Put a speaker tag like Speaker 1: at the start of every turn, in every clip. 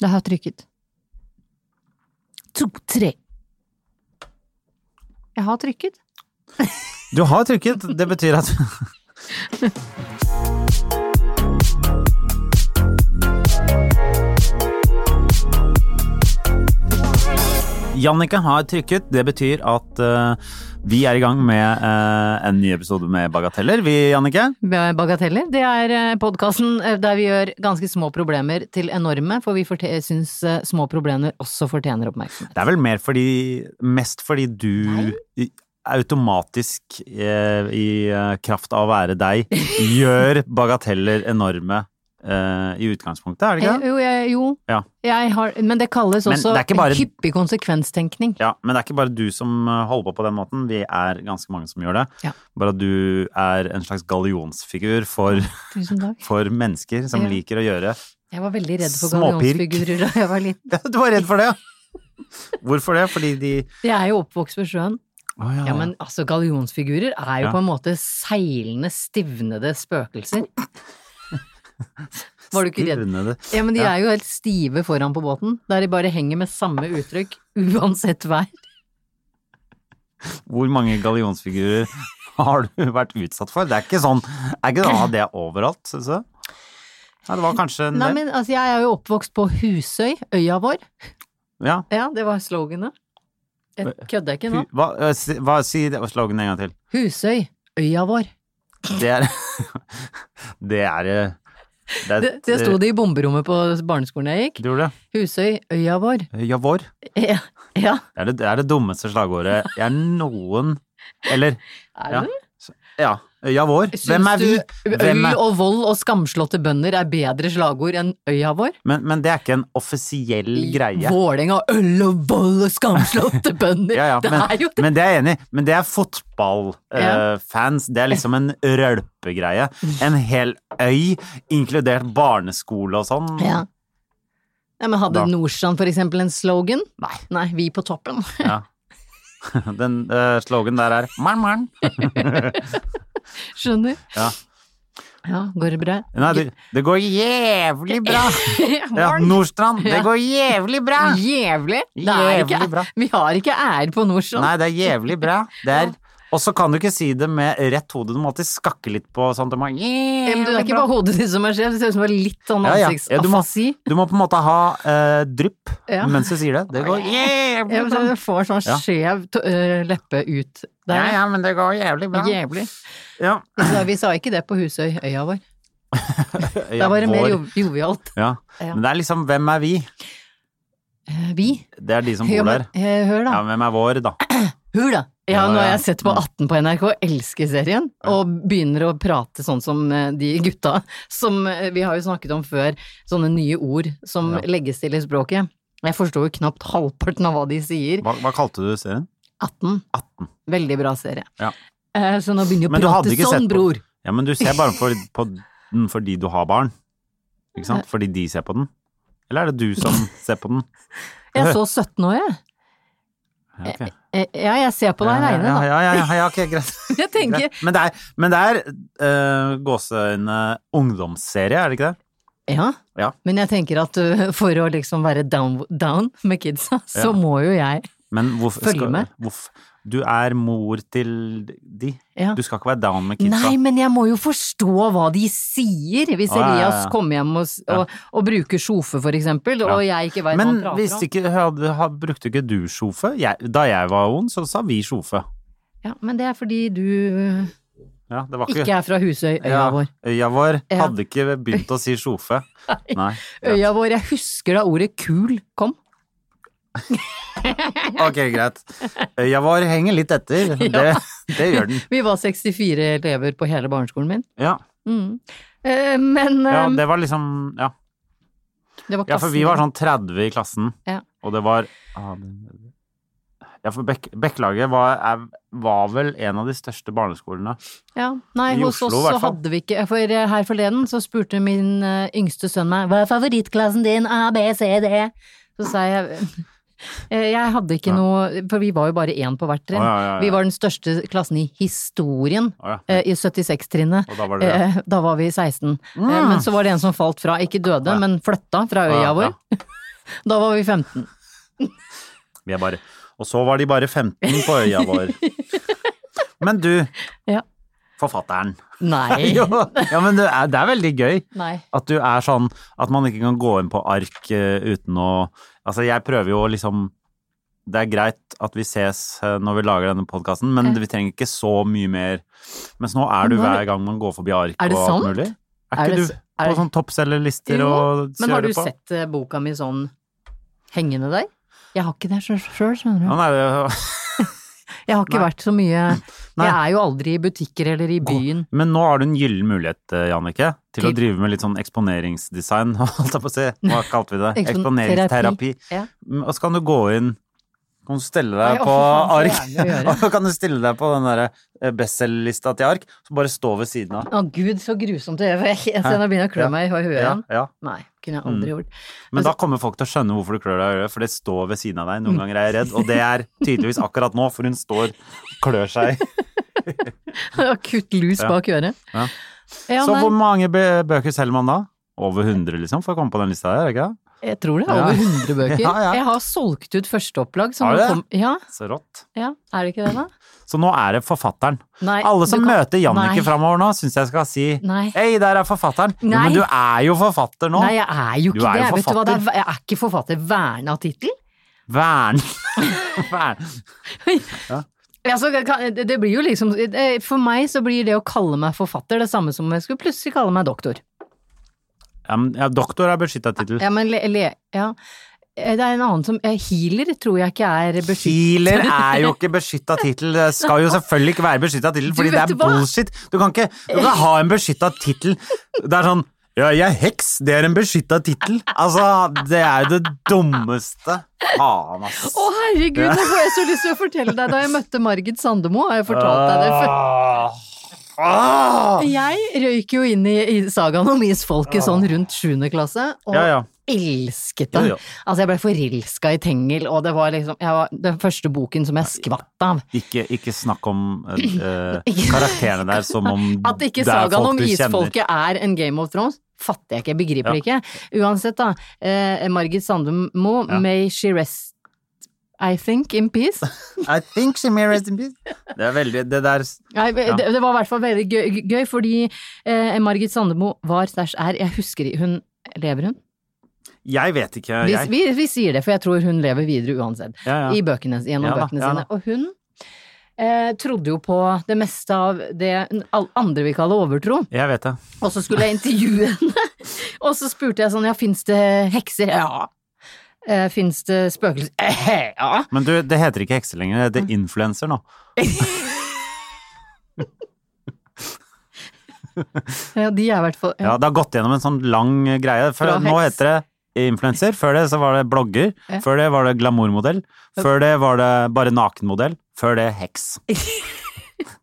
Speaker 1: Det har trykket.
Speaker 2: To, tre.
Speaker 1: Jeg har trykket.
Speaker 3: Du har trykket. Det betyr at Jannicke har trykket. Det betyr at eh, vi er i gang med eh, en ny episode med Bagateller. Vi, Jannicke?
Speaker 1: Med Bagateller. Det er podkasten der vi gjør ganske små problemer til enorme, for vi syns eh, små problemer også fortjener oppmerksomhet.
Speaker 3: Det er vel mer fordi Mest fordi du i- automatisk eh, i eh, kraft av å være deg gjør bagateller enorme eh, i utgangspunktet, er det ikke det?
Speaker 1: Eh, Jo, jeg, jo.
Speaker 3: Ja.
Speaker 1: Jeg har, men det kalles
Speaker 3: Men
Speaker 1: også
Speaker 3: det er ikke bare-
Speaker 1: hyppig konsekvenstenkning.
Speaker 3: Ja, men det er ikke bare du som eh, holder på på den måten. Vi er ganske mange som gjør det.
Speaker 1: Ja.
Speaker 3: Bare at du er en slags gallionsfigur for,
Speaker 1: Tusen takk.
Speaker 3: for mennesker som
Speaker 1: Ja.
Speaker 3: liker å gjøre
Speaker 1: Jeg var veldig redd for
Speaker 3: Småpirk.
Speaker 1: gallionsfigurer da jeg var liten.
Speaker 3: Du var redd for det, ja! Hvorfor det? Fordi de
Speaker 1: Jeg er jo oppvokst ved sjøen.
Speaker 3: Å, ja.
Speaker 1: Ja, men altså, gallionsfigurer er jo
Speaker 3: Ja.
Speaker 1: på en måte seilende, stivnede spøkelser. Var du ikke redd?
Speaker 3: Stivnede.
Speaker 1: Ja, men de
Speaker 3: Ja.
Speaker 1: er jo helt stive foran på båten, der de bare henger med samme uttrykk uansett vær.
Speaker 3: Hvor mange gallionsfigurer har du vært utsatt for? Det er ikke sånn Er ikke sånn at det er overalt, synes du? Ja, det var kanskje en
Speaker 1: Nei,
Speaker 3: del.
Speaker 1: men altså, jeg er jo oppvokst på Husøy, øya vår.
Speaker 3: Ja.
Speaker 1: Ja, det var sloganet. Jeg kødder ikke nå.
Speaker 3: Hu- Hva, eh, si- hva, si det- sloganet en gang til.
Speaker 1: Husøy, øya vår.
Speaker 3: Det er Det er eh, Det, er-
Speaker 1: Det, det sto det i bomberommet på barneskolen jeg gikk.
Speaker 3: Du gjorde det?
Speaker 1: Husøy, øya vår.
Speaker 3: Eh, Ja, vår.
Speaker 1: Ja, ja.
Speaker 3: Det er det, det er det dummeste slagordet jeg noen Eller
Speaker 1: er
Speaker 3: ja.
Speaker 1: det?
Speaker 3: Så- Ja. Ja, vår.
Speaker 1: Syns
Speaker 3: Hvem er vi?
Speaker 1: du
Speaker 3: Hvem er,
Speaker 1: Øl og vold og skamslåtte bønder er bedre slagord enn øya vår?
Speaker 3: men, men det er ikke en offisiell greie.
Speaker 1: Vålerenga, øl og vold og skamslåtte bønder.
Speaker 3: Ja, ja,
Speaker 1: det er
Speaker 3: men,
Speaker 1: jo det.
Speaker 3: men det er jeg enig i. Men det er
Speaker 1: Ja.
Speaker 3: fotballfans. det er liksom en rølpegreie. En hel øy, inkludert barneskole og sånn.
Speaker 1: Ja. Ja, men hadde
Speaker 3: Da.
Speaker 1: Nordstrand for eksempel en slogan?
Speaker 3: Nei.
Speaker 1: Nei, vi på toppen.
Speaker 3: Ja. Den uh, slogan der er Marn, marn.
Speaker 1: Skjønner.
Speaker 3: Ja.
Speaker 1: Ja, går det bra?
Speaker 3: Nei, det, det går jævlig bra! Ja, Nordstrand, det
Speaker 1: Ja.
Speaker 3: går jævlig bra!
Speaker 1: Jævlig! Det er ikke,
Speaker 3: Jævlig bra.
Speaker 1: vi har ikke ære på Nordstrand.
Speaker 3: Nei, det er jævlig bra. Det er og så kan du ikke si det med rett hode, du må alltid skakke litt på sånn at man
Speaker 1: Ja, men du, det er ikke bare hodet ditt som er skjevt, det ser ut som bare litt sånn
Speaker 3: Ja, ja. Ja, du må-
Speaker 1: ansiktsafasi.
Speaker 3: Du må på en måte ha eh, drypp
Speaker 1: Ja.
Speaker 3: mens du sier det. Det går jævlig
Speaker 1: Ja, men
Speaker 3: bra.
Speaker 1: du får sånn
Speaker 3: Ja.
Speaker 1: skjev t- øh, leppe ut der.
Speaker 3: Ja, ja, men det går jævlig bra.
Speaker 1: Jævlig.
Speaker 3: Ja.
Speaker 1: Vi sa, vi sa ikke det på Husøy, øya vår. Da var det mer jo, jovialt.
Speaker 3: Ja.
Speaker 1: Ja.
Speaker 3: Men det er liksom hvem er vi?
Speaker 1: Eh, Vi?
Speaker 3: Det er de som
Speaker 1: Ja,
Speaker 3: bor
Speaker 1: men,
Speaker 3: der.
Speaker 1: eh, hør, da.
Speaker 3: Ja, hvem er vår, da?
Speaker 1: Hør da! Ja,
Speaker 3: Ja,
Speaker 1: nå har
Speaker 3: ja. Mm.
Speaker 1: jeg sett på 18 på NRK, elsker serien, og begynner å prate sånn som eh, de gutta som eh, vi har jo snakket om før, sånne nye ord som
Speaker 3: Ja.
Speaker 1: legges til i språket. Jeg forstår jo knapt halvparten av hva de sier.
Speaker 3: Hva, hva kalte du serien?
Speaker 1: 18.
Speaker 3: 18.
Speaker 1: Veldig bra serie.
Speaker 3: Ja.
Speaker 1: Eh, Så nå begynner jeg
Speaker 3: Men
Speaker 1: å
Speaker 3: du hadde
Speaker 1: prate
Speaker 3: ikke
Speaker 1: sånn,
Speaker 3: sett på-
Speaker 1: bror.
Speaker 3: Ja, men du ser bare for, på den fordi du har barn. Ikke sant? Fordi de ser på den. Eller er det du som ser på den?
Speaker 1: Jeg så 17 år, jeg.
Speaker 3: Ja, ok.
Speaker 1: Eh, Ja, jeg ser på deg
Speaker 3: ja,
Speaker 1: aleine,
Speaker 3: ja,
Speaker 1: da.
Speaker 3: ja, ja, ja, ja, ok, greit.
Speaker 1: Jeg tenker
Speaker 3: greit. Men det er, men det er eh, gåseøyne ungdomsserie, er det ikke det?
Speaker 1: Ja.
Speaker 3: Ja.
Speaker 1: Men jeg tenker at uh, for å liksom være down, down med kidsa, så
Speaker 3: Ja.
Speaker 1: må jo jeg
Speaker 3: Men hvorfor,
Speaker 1: Følg med.
Speaker 3: hvorf- du er mor til de.
Speaker 1: Ja.
Speaker 3: Du skal ikke være down med kidsa.
Speaker 1: Nei, men jeg må jo forstå hva de sier. Hvis
Speaker 3: Ja, ja, ja.
Speaker 1: Elias kommer hjem og, s- og, og bruker sjofe, for eksempel, og jeg ikke veit hva
Speaker 3: Men
Speaker 1: han prater
Speaker 3: hvis
Speaker 1: om.
Speaker 3: ikke, hadde, ha- brukte ikke du sjofe? Jeg, da jeg var ung, så sa vi sjofe.
Speaker 1: Ja, men det er fordi du
Speaker 3: Ja, det var ikke,
Speaker 1: ikke er fra Husøy, øya
Speaker 3: Ja,
Speaker 1: vår.
Speaker 3: Øya vår
Speaker 1: Ja.
Speaker 3: hadde ikke begynt å si sjofe. Nei.
Speaker 1: Øya vår, jeg husker da ordet kul kom.
Speaker 3: Ok, greit. Øya vår henger litt etter. Det, det gjør den.
Speaker 1: Vi var 64 elever på hele barneskolen min.
Speaker 3: Ja.
Speaker 1: Mm. Eh, men
Speaker 3: Ja,
Speaker 1: eh,
Speaker 3: det var liksom Ja,
Speaker 1: det var
Speaker 3: ja for vi
Speaker 1: klassen.
Speaker 3: var sånn 30 i klassen,
Speaker 1: Ja.
Speaker 3: og det var ah, det- Ja, for Bekk- Bekkelaget var, er- var vel en av de største barneskolene.
Speaker 1: Ja, nei,
Speaker 3: I
Speaker 1: hos
Speaker 3: Oslo, i
Speaker 1: oss
Speaker 3: hvert
Speaker 1: så
Speaker 3: fall.
Speaker 1: hadde vi ikke For eh, her forleden så spurte min eh, yngste sønn meg Hva er favorittklassen din? A, B, C, D? Så sa jeg eh, Jeg hadde ikke
Speaker 3: Ja.
Speaker 1: noe For vi var jo bare én på hvert trinn.
Speaker 3: Å, ja, ja, ja.
Speaker 1: Vi var den største klassen i historien.
Speaker 3: Å, ja.
Speaker 1: eh, I 76-trinnet.
Speaker 3: Og da var det
Speaker 1: Eh, Da var vi 16. Eh, Men så var det en som falt fra. Ikke døde,
Speaker 3: Ja.
Speaker 1: men flytta fra
Speaker 3: Ja,
Speaker 1: øya
Speaker 3: ja.
Speaker 1: vår. Da var vi 15.
Speaker 3: Vi er bare Og så var de bare 15 på øya vår. Men du,
Speaker 1: Ja.
Speaker 3: forfatteren.
Speaker 1: Nei.
Speaker 3: Jo, ja, men det er, det er veldig gøy
Speaker 1: Nei.
Speaker 3: at du er sånn at man ikke kan gå inn på ark eh, uten å Altså, jeg prøver jo å liksom Det er greit at vi ses eh, når vi lager denne podkasten, men vi trenger ikke så mye mer. Mens nå er du
Speaker 1: Nå er
Speaker 3: hver gang man går forbi ark
Speaker 1: Er det
Speaker 3: og alt
Speaker 1: sant?
Speaker 3: mulig. Er
Speaker 1: Er
Speaker 3: ikke
Speaker 1: det
Speaker 3: du
Speaker 1: s-
Speaker 3: på
Speaker 1: er-
Speaker 3: sånn toppselgerlister
Speaker 1: Jo,
Speaker 3: og
Speaker 1: Men har du
Speaker 3: kjører på?
Speaker 1: sett eh, boka mi sånn hengende der? Jeg har ikke det sjøl, skjønner
Speaker 3: Ja,
Speaker 1: du.
Speaker 3: nei, det-
Speaker 1: Jeg har ikke vært så mye
Speaker 3: Nei.
Speaker 1: Jeg er jo aldri i butikker eller i byen.
Speaker 3: Men nå har du en gyllen mulighet, eh, Jannicke, til å
Speaker 1: Til-
Speaker 3: drive med litt sånn eksponeringsdesign. holdt jeg på å si. Hva kalte vi det?
Speaker 1: Ekspon-
Speaker 3: Eksponeringsterapi.
Speaker 1: terapi, ja.
Speaker 3: Mm, Og så kan du gå inn Kan du stelle
Speaker 1: Nei,
Speaker 3: deg
Speaker 1: å,
Speaker 3: på
Speaker 1: fy
Speaker 3: ark?
Speaker 1: faen, så jævlig å
Speaker 3: Og så kan du stille deg på den derre eh, bestselgerlista til ark, så bare stå ved siden av.
Speaker 1: Å gud, så grusomt det er. Jeg ser nå begynner jeg Altså- å
Speaker 3: Ja.
Speaker 1: klø meg i høyet
Speaker 3: Ja, Mm.
Speaker 1: igjen.
Speaker 3: ja.
Speaker 1: Nei, kunne jeg aldri gjort.
Speaker 3: Men da kommer folk til å skjønne hvorfor du klør deg i øret, for det står ved siden av deg.
Speaker 1: Mm.
Speaker 3: Noen ganger er jeg redd, og det er tydeligvis akkurat nå, for hun står og klør seg.
Speaker 1: Akutt lus
Speaker 3: Ja.
Speaker 1: bak øret.
Speaker 3: Ja.
Speaker 1: Ja,
Speaker 3: Så
Speaker 1: nei,
Speaker 3: hvor mange bø- bøker selger man da? Over 100, liksom, for å komme på den lista her, er det ikke det?
Speaker 1: jeg tror det er
Speaker 3: Ja.
Speaker 1: over 100 bøker.
Speaker 3: Ja, ja.
Speaker 1: Jeg har solgt ut førsteopplag. som
Speaker 3: Har du det?
Speaker 1: kom- Ja,
Speaker 3: Så rått.
Speaker 1: ja, er det ikke det, da?
Speaker 3: Så nå er det forfatteren.
Speaker 1: Nei,
Speaker 3: Alle
Speaker 1: du
Speaker 3: som
Speaker 1: kan-
Speaker 3: møter Jannicke
Speaker 1: Nei.
Speaker 3: framover nå, syns jeg skal si
Speaker 1: Nei.
Speaker 3: Hei, der er forfatteren! Jo,
Speaker 1: Nei.
Speaker 3: men du er jo forfatter nå!
Speaker 1: Nei, jeg er jo
Speaker 3: Du
Speaker 1: ikke
Speaker 3: er jo
Speaker 1: det. Vet du hva, det
Speaker 3: forfatter.
Speaker 1: er, jeg er ikke forfatter verna av tittel.
Speaker 3: Vern! Vern.
Speaker 1: Altså, kan- det blir jo liksom eh, For meg så blir det å kalle meg forfatter det samme som om jeg skulle plutselig kalle meg doktor.
Speaker 3: Ja, men, ja, doktor er beskytta tittel.
Speaker 1: Ja, men le, le, ja. Eh, Det er en annen som eh, Healer tror jeg ikke er beskyttet.
Speaker 3: Healer er jo ikke beskytta tittel. Det skal jo selvfølgelig ikke være beskytta tittel, fordi det
Speaker 1: vet
Speaker 3: er
Speaker 1: hva?
Speaker 3: bullshit. Du kan ikke, du kan ikke ha en beskytta tittel. Det er sånn Ja, jeg er heks. Det er en beskytta tittel. Altså, det er jo det dummeste. Faen, ass.
Speaker 1: Å, herregud, nå får jeg så lyst til å fortelle deg da jeg møtte Margit Sandemo. Har jeg fortalt deg det før?
Speaker 3: Ah. Ah.
Speaker 1: Jeg røyk jo inn i, i sagaen om isfolket sånn rundt 7. klasse, og
Speaker 3: Ja, ja.
Speaker 1: elsket
Speaker 3: Jo,
Speaker 1: den.
Speaker 3: jo.
Speaker 1: Altså, jeg ble forelska i Tengel, og det var liksom jeg var, Den første boken som jeg skvatt av.
Speaker 3: Ikke, ikke snakk om eh, eh,
Speaker 1: Ikke-
Speaker 3: karakterene der som om
Speaker 1: At ikke
Speaker 3: det er
Speaker 1: sagaen
Speaker 3: folk
Speaker 1: om
Speaker 3: du kjenner.
Speaker 1: isfolket er en Game of Thrones, fatter jeg ikke, jeg begriper det ikke. Uansett, da. Eh, Margit Sandemo,
Speaker 3: Ja.
Speaker 1: may she rest I think in peace.
Speaker 3: I think she may rest in peace. Det er veldig Det der
Speaker 1: Nei,
Speaker 3: Ja.
Speaker 1: det, det var i hvert fall veldig gøy, gøy fordi eh, Margit Sandemo var stæsj er Jeg husker i- hun Lever hun?
Speaker 3: Jeg vet ikke,
Speaker 1: Vi,
Speaker 3: jeg.
Speaker 1: vi, vi sier det, for jeg tror hun lever videre uansett.
Speaker 3: Ja, ja.
Speaker 1: i bøkene, gjennom
Speaker 3: Ja da,
Speaker 1: bøkene
Speaker 3: ja
Speaker 1: sine. Og hun eh, trodde jo på det meste av det n- all- andre vil kalle overtro.
Speaker 3: Jeg vet det.
Speaker 1: Og så skulle jeg intervjue henne, og så spurte jeg sånn, ja, fins det hekser? Ja. Eh, fins det spøkelser? Eh, ja.
Speaker 3: Men du, det heter ikke hekse lenger. Det heter
Speaker 1: Mm.
Speaker 3: influenser nå.
Speaker 1: ja. De er i hvert fall
Speaker 3: Ja,
Speaker 1: ja.
Speaker 3: det har gått gjennom en sånn lang greie. Før,
Speaker 1: Fra
Speaker 3: nå
Speaker 1: heks.
Speaker 3: heter det influenser. Før det så var det blogger.
Speaker 1: Ja.
Speaker 3: Før det var det glamourmodell. Før det var det bare nakenmodell. Før det heks.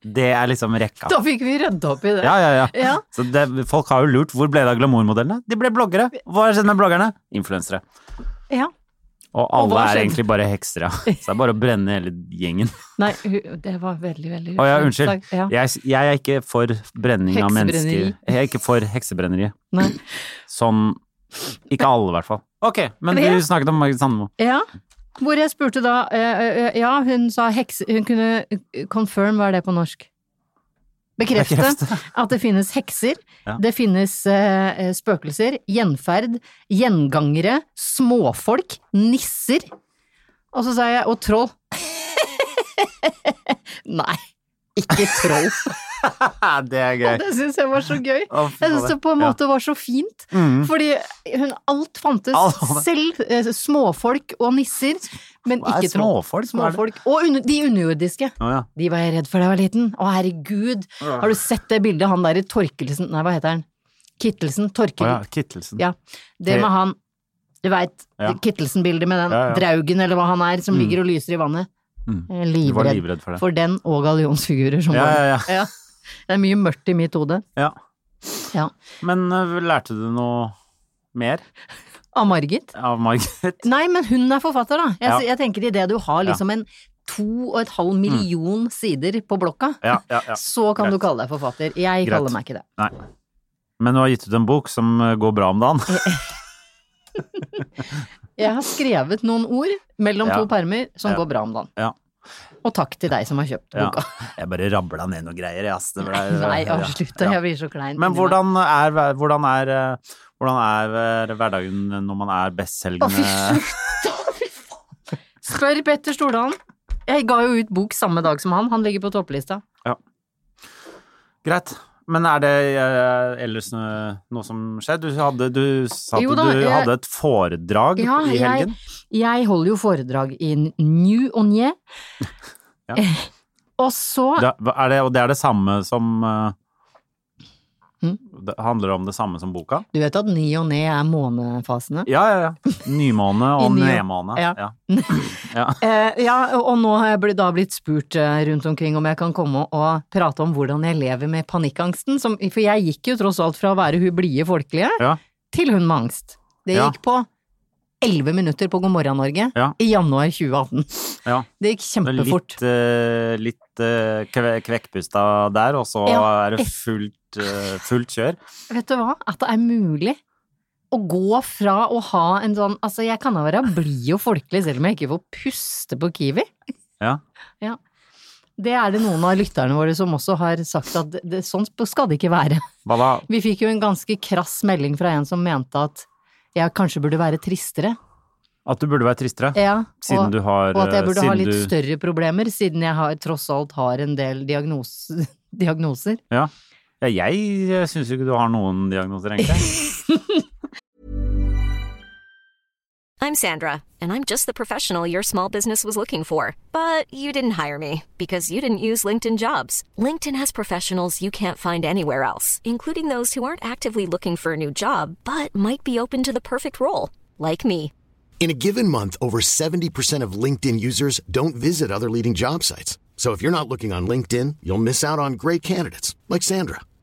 Speaker 3: Det er liksom rekka.
Speaker 1: Da fikk vi rydda opp i det.
Speaker 3: Ja, ja, ja.
Speaker 1: Ja.
Speaker 3: Så det, folk har jo lurt. Hvor ble det av glamourmodellene? De ble bloggere. Hva har skjedd med bloggerne? Influensere.
Speaker 1: Ja.
Speaker 3: Og
Speaker 1: Og
Speaker 3: alle
Speaker 1: hva har
Speaker 3: er
Speaker 1: skjedd?
Speaker 3: egentlig bare hekser, ja. Så det er bare å brenne hele gjengen.
Speaker 1: Nei, hu- det var veldig, veldig
Speaker 3: Å ja,
Speaker 1: uskjønt
Speaker 3: unnskyld.
Speaker 1: sagt. Ja.
Speaker 3: Jeg, jeg er ikke for brenning av mennesker.
Speaker 1: Heksebrenneri.
Speaker 3: Jeg er ikke for heksebrenneri.
Speaker 1: Nei.
Speaker 3: Sånn Ikke alle, i hvert fall. Ok, men
Speaker 1: Ja.
Speaker 3: du snakket om Margit Sandemo.
Speaker 1: Ja, hvor jeg spurte da eh, eh, Ja, hun sa hekse... Hun kunne eh, confirm, hva er det på norsk? Bekrefte,
Speaker 3: Bekrefte.
Speaker 1: at det finnes hekser,
Speaker 3: Ja.
Speaker 1: det finnes eh, eh, spøkelser, gjenferd, gjengangere, småfolk, nisser. Og så sa jeg og troll. Nei, ikke troll.
Speaker 3: det er gøy.
Speaker 1: Og det syns jeg var så gøy.
Speaker 3: Å, fy
Speaker 1: Jeg syns
Speaker 3: fader.
Speaker 1: det på en måte var så fint,
Speaker 3: Ja. Mm.
Speaker 1: fordi hun alt fantes.
Speaker 3: Alt.
Speaker 1: Selv eh, småfolk og nisser, men
Speaker 3: Hva er
Speaker 1: ikke troll.
Speaker 3: småfolk? Hva er det?
Speaker 1: Småfolk. Og under, de underjordiske.
Speaker 3: Å, ja.
Speaker 1: De var jeg redd for da jeg var liten. Å, herregud. Har du sett det bildet han der i Torkelsen Nei, hva heter han? Kittelsen?
Speaker 3: Å, ja.
Speaker 1: Torkel...
Speaker 3: Kittelsen.
Speaker 1: Ja. Det med han Du veit
Speaker 3: Ja.
Speaker 1: Kittelsen-bildet med den
Speaker 3: Ja, ja.
Speaker 1: draugen eller hva han er, som
Speaker 3: Mm.
Speaker 1: ligger og lyser i vannet.
Speaker 3: Mm.
Speaker 1: Jeg er
Speaker 3: Du var
Speaker 1: Livredd
Speaker 3: livredd for det.
Speaker 1: for den og gallionsfigurer som
Speaker 3: Ja,
Speaker 1: var
Speaker 3: ja, ja.
Speaker 1: Ja. Det er mye mørkt i mitt hode.
Speaker 3: ja.
Speaker 1: Ja.
Speaker 3: Men øh, lærte du noe mer
Speaker 1: Av Margit.
Speaker 3: av Margaret?
Speaker 1: Nei, men hun er forfatter, da. Jeg,
Speaker 3: Ja.
Speaker 1: jeg tenker idet du har liksom en to og et halv million
Speaker 3: Mm.
Speaker 1: sider på blokka,
Speaker 3: Ja, ja, ja.
Speaker 1: så kan
Speaker 3: Greit.
Speaker 1: du kalle deg forfatter. Jeg
Speaker 3: Greit.
Speaker 1: kaller meg ikke det.
Speaker 3: Nei. Men du har gitt ut en bok som øh, går bra om dagen.
Speaker 1: Jeg har skrevet noen ord mellom
Speaker 3: Ja.
Speaker 1: to permer som
Speaker 3: Ja.
Speaker 1: går bra om dagen.
Speaker 3: Ja.
Speaker 1: Og takk til deg som har kjøpt
Speaker 3: Ja.
Speaker 1: boka.
Speaker 3: Jeg bare rabla ned noen greier, jeg, ass. Det ble,
Speaker 1: Nei,
Speaker 3: ja,
Speaker 1: slutt,
Speaker 3: ja.
Speaker 1: jeg blir så klein.
Speaker 3: Men
Speaker 1: inni meg.
Speaker 3: hvordan er, hver- hvordan er, eh, hvordan er eh, hverdagen når man er
Speaker 1: Å, fy
Speaker 3: bestselgende
Speaker 1: slutt! Å, fy faen! Spør Petter Stordalen. Jeg ga jo ut bok samme dag som han. Han ligger på topplista.
Speaker 3: Greit. Men er det eh, ellers noe, noe som skjer? Du, hadde, du sa at
Speaker 1: Jo da,
Speaker 3: du
Speaker 1: jeg-
Speaker 3: hadde et foredrag
Speaker 1: Ja,
Speaker 3: i helgen.
Speaker 1: jeg, jeg holder jo foredrag i New Onye.
Speaker 3: Ja.
Speaker 1: Og så
Speaker 3: Det, er det, og det er det samme som eh,
Speaker 1: Hm?
Speaker 3: Det handler om det samme som boka?
Speaker 1: Du vet at ny og ne er månefasene?
Speaker 3: Ja, ja, ja. Nymåne
Speaker 1: I
Speaker 3: og
Speaker 1: ny-
Speaker 3: nedmåne.
Speaker 1: ja.
Speaker 3: Ja.
Speaker 1: Eh, ja, og og nå har jeg blitt- da blitt spurt eh, rundt omkring om jeg kan komme og prate om hvordan jeg lever med panikkangsten. Som, for jeg gikk jo tross alt fra å være hun blide folkelige
Speaker 3: Ja.
Speaker 1: til hun med angst. Det
Speaker 3: Ja.
Speaker 1: gikk på elleve minutter på God morgen Norge
Speaker 3: Ja.
Speaker 1: i januar 2018.
Speaker 3: Ja.
Speaker 1: Det gikk
Speaker 3: Det er
Speaker 1: kjempefort.
Speaker 3: Litt, eh, litt eh, kve, kvekkpusta der, og så
Speaker 1: Ja.
Speaker 3: er det fullt, eh, fullt kjør.
Speaker 1: Vet du hva? At det er mulig å gå fra å ha en sånn Altså, jeg kan da være blid og folkelig selv om jeg ikke får puste på Kiwi.
Speaker 3: Ja.
Speaker 1: Ja. Det er det noen av lytterne våre som også har sagt at det, det, sånn skal det ikke være.
Speaker 3: Hva da?
Speaker 1: Vi fikk jo en ganske krass melding fra en som mente at jeg kanskje burde være tristere.
Speaker 3: At du burde være tristere?
Speaker 1: Ja,
Speaker 3: Siden
Speaker 1: og,
Speaker 3: du har eh,
Speaker 1: og at jeg burde
Speaker 3: siden
Speaker 1: ha litt
Speaker 3: du-
Speaker 1: større problemer, siden jeg har, tross alt har en del diagnos, diagnoser.
Speaker 3: Ja. ja jeg syns jo ikke du har noen diagnoser, egentlig.
Speaker 4: I'm Sandra, and I'm just the professional your small business was looking for. But you didn't hire me because you didn't use LinkedIn jobs. LinkedIn has professionals you can't find anywhere else, including those who aren't actively looking for a new job but might be open to the perfect role, like me.
Speaker 5: In a given month, over 70% of LinkedIn users don't visit other leading job sites. So if you're not looking on LinkedIn, you'll miss out on great candidates like Sandra.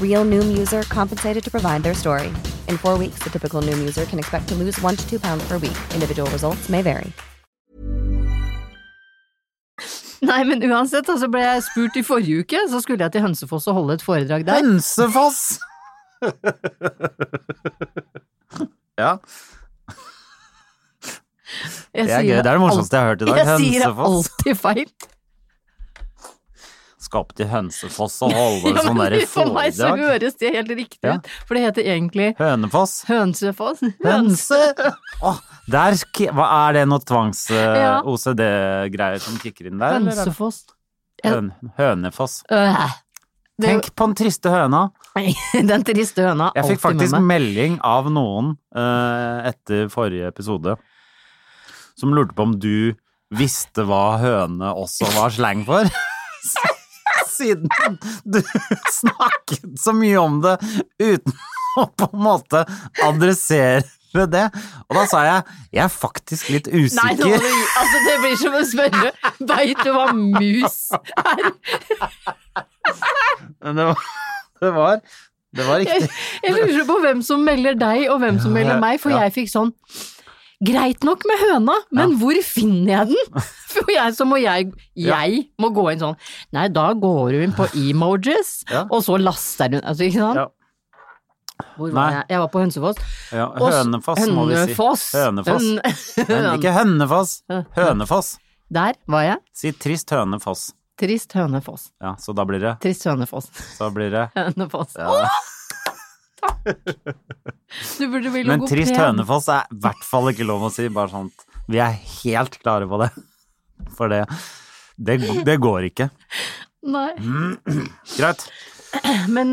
Speaker 6: Real Noom user compensated to provide their story. In four weeks, the typical Noom user can expect to lose one to two pounds per week. Individual results may vary.
Speaker 1: Nei, men uansett, altså ble jeg spurt i forrige uke, så skulle jeg til Hønsefoss og holde et foredrag der.
Speaker 3: Hønsefoss! ja,
Speaker 1: Jeg
Speaker 3: det er
Speaker 1: sier
Speaker 3: gøy. Det er det
Speaker 1: alt-
Speaker 3: morsomste jeg har hørt i dag.
Speaker 1: Jeg sier det
Speaker 3: Hønsefoss.
Speaker 1: alltid feil.
Speaker 3: Skal opp til Hønsefoss og holde
Speaker 1: Ja,
Speaker 3: sånn
Speaker 1: men
Speaker 3: derre
Speaker 1: For meg så
Speaker 3: foredrag.
Speaker 1: høres det helt riktig
Speaker 3: Ja.
Speaker 1: ut, for det heter egentlig
Speaker 3: Hønefoss.
Speaker 1: Hønsefoss.
Speaker 3: Hønse! Åh, der, ki- hva Er det noe eh,
Speaker 1: Ja.
Speaker 3: tvangs-OCD-greier som kicker inn der? eller er det-
Speaker 1: Hønsefoss.
Speaker 3: Høn, Hønefoss.
Speaker 1: Øh, det,
Speaker 3: Tenk på den triste høna.
Speaker 1: den triste høna er
Speaker 3: Jeg
Speaker 1: alltid
Speaker 3: fikk
Speaker 1: med
Speaker 3: faktisk
Speaker 1: meg.
Speaker 3: melding av noen eh, etter forrige episode som lurte på om du visste hva høne også var slang for. Siden du snakket så mye om det uten å på en måte adressere det. Og da sa jeg jeg er faktisk litt
Speaker 1: Nei, nå må
Speaker 3: usikker.
Speaker 1: du, altså, det blir som å spørre Veit du hva mus er?
Speaker 3: Men det var, det var, det var
Speaker 1: Jeg,
Speaker 3: riktig.
Speaker 1: jeg lurer på hvem som melder deg, og hvem som melder meg, for
Speaker 3: Ja.
Speaker 1: jeg fikk sånn Greit nok med høna, men hvor finner jeg den? For jeg, så må jeg, jeg må gå inn sånn, nei, da går du inn på emojis,
Speaker 3: Ja.
Speaker 1: og så laster du, altså ikke sant?
Speaker 3: Ja.
Speaker 1: Hvor var
Speaker 3: Nei.
Speaker 1: jeg? Jeg var på Hønsefoss.
Speaker 3: Ja,
Speaker 1: Og s-
Speaker 3: Hønefoss, må vi si.
Speaker 1: Hønefoss.
Speaker 3: Hønefoss.
Speaker 1: Høn-
Speaker 3: Men ikke Hønefoss. Hønefoss.
Speaker 1: Der var jeg.
Speaker 3: Si trist Hønefoss.
Speaker 1: Trist Hønefoss.
Speaker 3: Ja, så da blir det
Speaker 1: Trist Hønefoss.
Speaker 3: Så blir det
Speaker 1: Hønefoss.
Speaker 3: ja.
Speaker 1: Du burde bli
Speaker 3: Men
Speaker 1: logoped.
Speaker 3: trist Hønefoss er i hvert fall ikke lov å si, bare sånn Vi er helt klare på det. For det Det, det går ikke.
Speaker 1: Nei.
Speaker 3: Greit.
Speaker 1: Men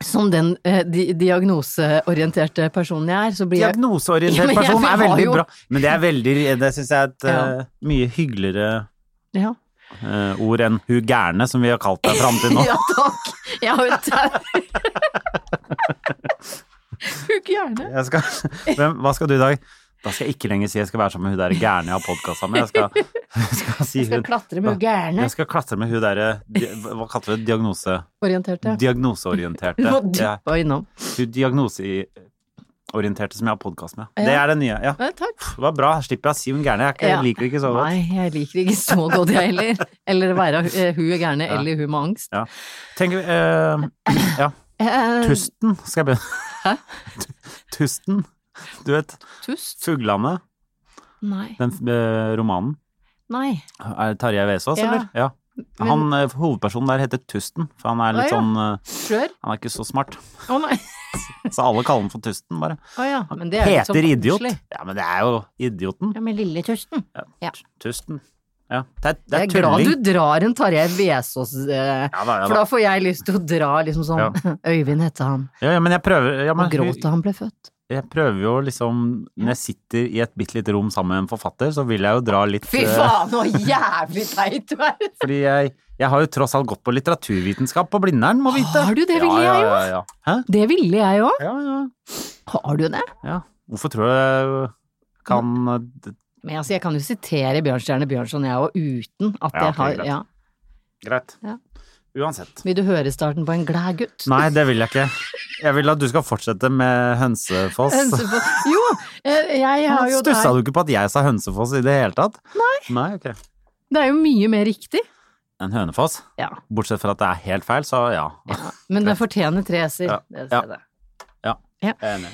Speaker 1: som den eh, di diagnoseorienterte personen jeg er, så blir jeg Ja,
Speaker 3: Diagnoseorientert
Speaker 1: men jeg-
Speaker 3: person er
Speaker 1: vi har
Speaker 3: veldig
Speaker 1: jo-
Speaker 3: bra. Men det er veldig Det syns jeg er et
Speaker 1: Ja.
Speaker 3: eh, mye hyggeligere
Speaker 1: Ja,
Speaker 3: eh, ord enn 'hu gærne', som vi har kalt deg fram til nå.
Speaker 1: ja takk. Jeg har jo tau. Hugg gjerne.
Speaker 3: Jeg skal, hvem, hva skal du i dag? Da skal jeg ikke lenger si jeg skal være sammen med hun der gærne jeg har podkasta med. Jeg skal, jeg skal si
Speaker 1: Jeg skal
Speaker 3: hun
Speaker 1: klatre med hugg gjerne.
Speaker 3: Jeg skal klatre med hun derre di- Hva kalte vi det? Diagnose?
Speaker 1: Orienterte.
Speaker 3: Diagnoseorienterte.
Speaker 1: Du må
Speaker 3: Det er
Speaker 1: dyppe innom.
Speaker 3: Hun diagnoseorienterte som jeg har podkast med.
Speaker 1: Ja.
Speaker 3: Det er det nye. Ja.
Speaker 1: Ja, takk.
Speaker 3: Det var bra. Slipper jeg å si hun gærne. Jeg, er ikke,
Speaker 1: Ja.
Speaker 3: jeg liker det ikke så godt.
Speaker 1: Nei, jeg liker ikke så godt jeg heller. Eller være eh, hun er gærne, eller hun med angst.
Speaker 3: Ja. Tenk eh, Ja.
Speaker 1: Eh,
Speaker 3: Tusten skal jeg begynne. Tu- Tusten. Du vet
Speaker 1: Tust?
Speaker 3: Fuglane,
Speaker 1: Eh, Nei.
Speaker 3: den eh, romanen.
Speaker 1: Nei.
Speaker 3: Er det Tarjei Vesaas,
Speaker 1: Ja.
Speaker 3: eller? Ja. Han, eh, hovedpersonen der heter Tusten, for han er litt
Speaker 1: Å, ja.
Speaker 3: sånn eh,
Speaker 1: Skjør?
Speaker 3: Han er ikke så smart.
Speaker 1: Å nei.
Speaker 3: Så alle kaller han for Tusten, bare.
Speaker 1: Å ja, men det er jo ikke så
Speaker 3: Heter idiot.
Speaker 1: koselig.
Speaker 3: Ja, men det er jo idioten.
Speaker 1: Ja, men lille Tusten. Ja.
Speaker 3: Tusten. Ja. Det er, det
Speaker 1: Jeg
Speaker 3: er
Speaker 1: er glad
Speaker 3: tulling.
Speaker 1: du drar en Tarjei Vesaas, eh,
Speaker 3: Ja da, ja
Speaker 1: for
Speaker 3: da.
Speaker 1: da får jeg lyst til å dra liksom sånn Øyvind het han,
Speaker 3: Ja, ja, men jeg prøver ja, men,
Speaker 1: og gråt da han ble født.
Speaker 3: Jeg prøver jo liksom Når jeg sitter i et bitte lite rom sammen med en forfatter, så vil jeg jo dra litt
Speaker 1: Fy
Speaker 3: eh,
Speaker 1: faen, så jævlig teit du er!
Speaker 3: Fordi jeg, jeg har jo tross alt gått på litteraturvitenskap på Blindern, må vite.
Speaker 1: Har du det, ville
Speaker 3: ja,
Speaker 1: jeg
Speaker 3: ja, ja, ja. Hæ?
Speaker 1: Det ville jeg òg.
Speaker 3: Ja, ja.
Speaker 1: Har du det?
Speaker 3: ja. Hvorfor tror du jeg kan eh,
Speaker 1: Men altså, jeg kan jo sitere Bjørnstjerne Bjørnson, jeg òg, uten at
Speaker 3: Ja,
Speaker 1: jeg
Speaker 3: ok,
Speaker 1: har
Speaker 3: greit.
Speaker 1: ja.
Speaker 3: Greit.
Speaker 1: Ja.
Speaker 3: Uansett.
Speaker 1: Vil du høre starten på en gladgutt?
Speaker 3: Nei, det vil jeg ikke. Jeg vil at du skal fortsette med Hønsefoss.
Speaker 1: Jo, eh, jeg har jo det
Speaker 3: Stussa
Speaker 1: er,
Speaker 3: du ikke på at jeg sa Hønsefoss i det hele tatt? Nei. Nei, ok.
Speaker 1: det er jo mye mer riktig.
Speaker 3: En hønefoss?
Speaker 1: Ja.
Speaker 3: Bortsett fra at det er helt feil, så ja.
Speaker 1: ja. Men det fortjener tre s-er.
Speaker 3: Ja.
Speaker 1: Det
Speaker 3: Ja.
Speaker 1: ser jeg.
Speaker 3: Jeg er enig.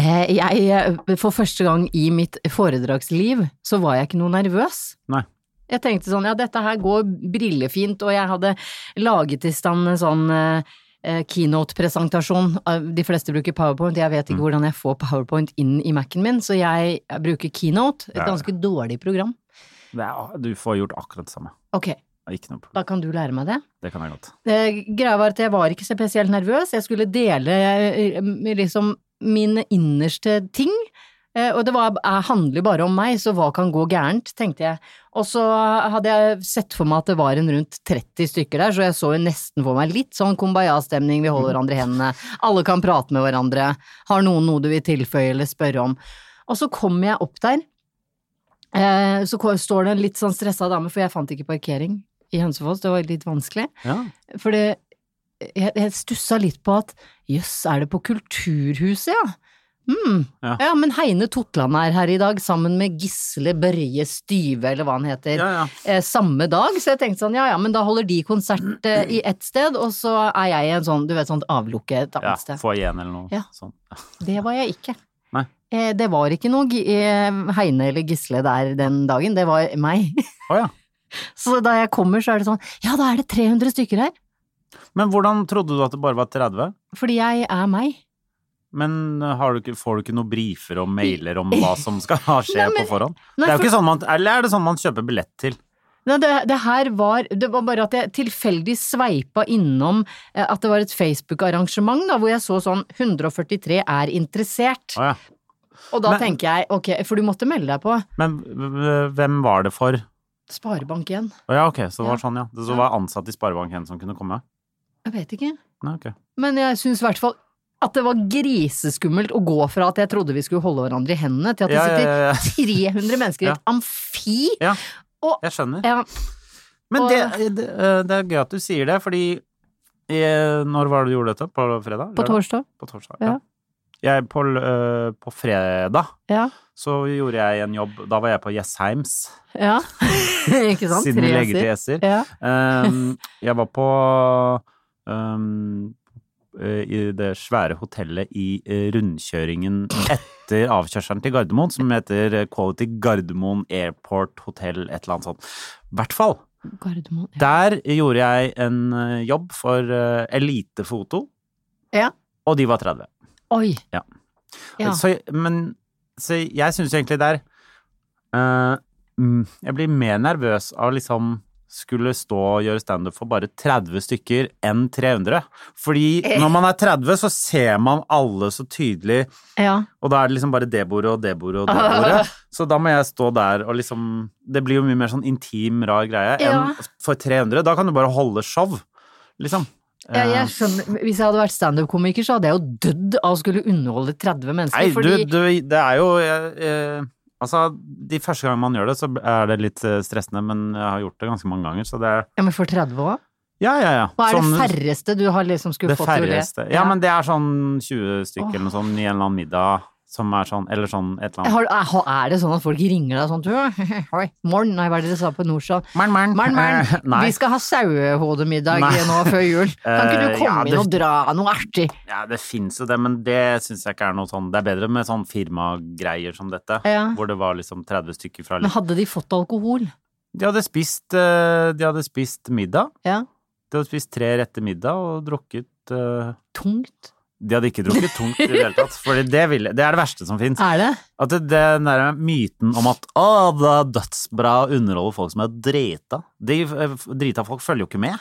Speaker 1: Eh, Jeg, eh, for første gang i mitt foredragsliv, så var jeg ikke noe nervøs.
Speaker 3: Nei.
Speaker 1: Jeg tenkte sånn, ja, dette her går brillefint, og jeg hadde laget i stand en sånn eh, eh, keynote-presentasjon. Eh, De fleste bruker powerpoint, jeg
Speaker 3: Mm.
Speaker 1: vet ikke hvordan jeg får powerpoint inn i Mac-en min, så jeg bruker keynote, et
Speaker 3: Ja, ja.
Speaker 1: ganske dårlig program.
Speaker 3: Det er, du får gjort akkurat det samme.
Speaker 1: Ok,
Speaker 3: Ikke noe problem.
Speaker 1: da kan du lære meg det.
Speaker 3: Det kan jeg godt.
Speaker 1: Eh, Greia var at jeg var ikke spesielt nervøs. Jeg skulle dele eh, liksom mine innerste ting. Eh, Og det var, eh, handler bare om meg, så hva kan gå gærent, tenkte jeg. Og så hadde jeg sett for meg at det var en rundt 30 stykker der, så jeg så jo nesten for meg litt sånn kumbaya-stemning, vi holder hverandre i hendene, alle kan prate med hverandre, har noen noe du vil tilføye eller spørre om. Og så kommer jeg opp der, eh, så ko- står det en litt sånn stressa dame, for jeg fant ikke parkering i Hønsefoss, det var litt vanskelig.
Speaker 3: Ja.
Speaker 1: For det, jeg, jeg stussa litt på at jøss, er det på Kulturhuset, ja? Mm. Ja.
Speaker 3: Ja.
Speaker 1: men Heine Totland er her i dag sammen med Gisle Børje Styve, eller hva han heter,
Speaker 3: Ja, ja.
Speaker 1: eh, samme dag. Så jeg tenkte sånn, ja ja, men da holder de konsert eh, i ett sted, og så er jeg i en sånn, du vet, sånt avlukke et
Speaker 3: ja
Speaker 1: annet sted.
Speaker 3: få igjen eller noe
Speaker 1: Ja.
Speaker 3: sånt.
Speaker 1: Det var jeg ikke.
Speaker 3: Nei.
Speaker 1: Eh, det var ikke noe Gi- eh, Heine eller Gisle der den dagen, det var meg.
Speaker 3: Å ja.
Speaker 1: Så da jeg kommer, så er det sånn, ja da er det 300 stykker her,
Speaker 3: Men hvordan trodde du at det bare var 30?
Speaker 1: fordi jeg er meg.
Speaker 3: Men eh, har du ikke, får du ikke noen briefer og mailer om hva som skal skje
Speaker 1: Nei, men-
Speaker 3: på forhånd?
Speaker 1: Nei,
Speaker 3: det er jo
Speaker 1: for-
Speaker 3: ikke sånn man, eller er det sånn man kjøper billett til?
Speaker 1: Nei, det, det her var Det var bare at jeg tilfeldig sveipa innom eh, at det var et Facebook-arrangement, da, hvor jeg så sånn 143 er interessert.
Speaker 3: Å ja.
Speaker 1: Og da
Speaker 3: Men-
Speaker 1: tenker jeg ok, for du måtte melde deg på
Speaker 3: Men v- v- hvem var det for?
Speaker 1: Sparebank igjen.
Speaker 3: Å ja, ok, så det var
Speaker 1: Ja.
Speaker 3: sånn, ja. Det så var ansatt i Sparebanken som kunne komme?
Speaker 1: Jeg vet ikke.
Speaker 3: Nei, ok.
Speaker 1: Men jeg syns i hvert fall at det var griseskummelt å gå fra at jeg trodde vi skulle holde hverandre i hendene, til at det
Speaker 3: Ja, ja, ja, ja.
Speaker 1: sitter 300 mennesker i et amfi.
Speaker 3: Ja,
Speaker 1: Og-
Speaker 3: jeg skjønner.
Speaker 1: Ja,
Speaker 3: Men
Speaker 1: og-
Speaker 3: det, det, eh, det er gøy at du sier det, fordi eh, Når var det du gjorde dette? På fredag?
Speaker 1: på
Speaker 3: Lørdag?
Speaker 1: torsdag.
Speaker 3: På torsdag,
Speaker 1: Ja.
Speaker 3: ja. Jeg, på, l- eh, på fredag
Speaker 1: Ja.
Speaker 3: så gjorde jeg en jobb. Da var jeg på Jessheims,
Speaker 1: ja. Ikke sant?
Speaker 3: siden
Speaker 1: Tre
Speaker 3: vi legger til
Speaker 1: S-er.
Speaker 3: Jesser.
Speaker 1: Ja.
Speaker 3: Um, jeg var på um, i det svære hotellet i eh, rundkjøringen etter avkjørselen til Gardermoen, som heter eh, Quality Gardermoen Airport Hotel, et eller annet sånt. I hvert fall.
Speaker 1: Gardermoen. Ja.
Speaker 3: Der gjorde jeg en eh, jobb for eh, elitefoto,
Speaker 1: Ja.
Speaker 3: og de var 30.
Speaker 1: Oi.
Speaker 3: Ja.
Speaker 1: Ja.
Speaker 3: Så, men, så jeg syns egentlig der eh, mm, Jeg blir mer nervøs av liksom skulle stå og gjøre standup for bare 30 stykker enn 300.
Speaker 1: Eh.
Speaker 3: Fordi når man er 30, så ser man alle så tydelig,
Speaker 1: ja.
Speaker 3: og da er det liksom bare det bordet og det bordet og
Speaker 1: Ah.
Speaker 3: det bordet. Så da må jeg stå der og liksom Det blir jo mye mer sånn intim, rar greie
Speaker 1: Ja.
Speaker 3: enn for 300. Da kan du bare holde show, liksom.
Speaker 1: Ja,
Speaker 3: Eh,
Speaker 1: jeg skjønner. Hvis jeg hadde vært standup-komiker, så hadde jeg jo dødd av å skulle underholde 30 mennesker.
Speaker 3: Nei,
Speaker 1: fordi...
Speaker 3: du, du, det er jo eh, eh, Altså, de første gangene man gjør det, så er det litt eh, stressende, men jeg har gjort det ganske mange ganger, så det er
Speaker 1: Ja, men for 30 òg?
Speaker 3: Ja, ja, ja.
Speaker 1: Hva er
Speaker 3: Sånn-
Speaker 1: det færreste du har liksom skulle
Speaker 3: det
Speaker 1: fått til å le?
Speaker 3: færreste. Ja, men det er sånn 20 stykker eller noe sånt i en eller annen middag som er sånn Eller sånn et eller annet.
Speaker 1: Har, er- er det sånn at folk ringer deg sånn «Du, Hei, morn, nei, hva er det dere sa på Nordstrand?
Speaker 3: Mern, mern.
Speaker 1: Morn, morn,
Speaker 3: Eh, nei.
Speaker 1: vi skal ha sauehodemiddag
Speaker 3: Nei.
Speaker 1: nå før jul. Kan ikke
Speaker 3: Eh,
Speaker 1: du komme
Speaker 3: ja,
Speaker 1: inn
Speaker 3: det-
Speaker 1: og dra noe artig?
Speaker 3: Ja, det fins jo det, men det syns jeg ikke er noe sånn Det er bedre med sånn firmagreier som dette,
Speaker 1: Ja.
Speaker 3: hvor det var liksom 30 stykker fra
Speaker 1: Men hadde de fått alkohol?
Speaker 3: De hadde spist, eh, de hadde spist middag.
Speaker 1: Ja.
Speaker 3: De hadde spist tre retter middag og drukket eh,
Speaker 1: Tungt?
Speaker 3: De hadde ikke drukket tungt i det hele tatt. For det, ville- det er det verste som fins.
Speaker 1: Er det?
Speaker 3: At det, den der myten om at å, det er dødsbra å underholde folk som er drita De eh, drita folk følger jo ikke med.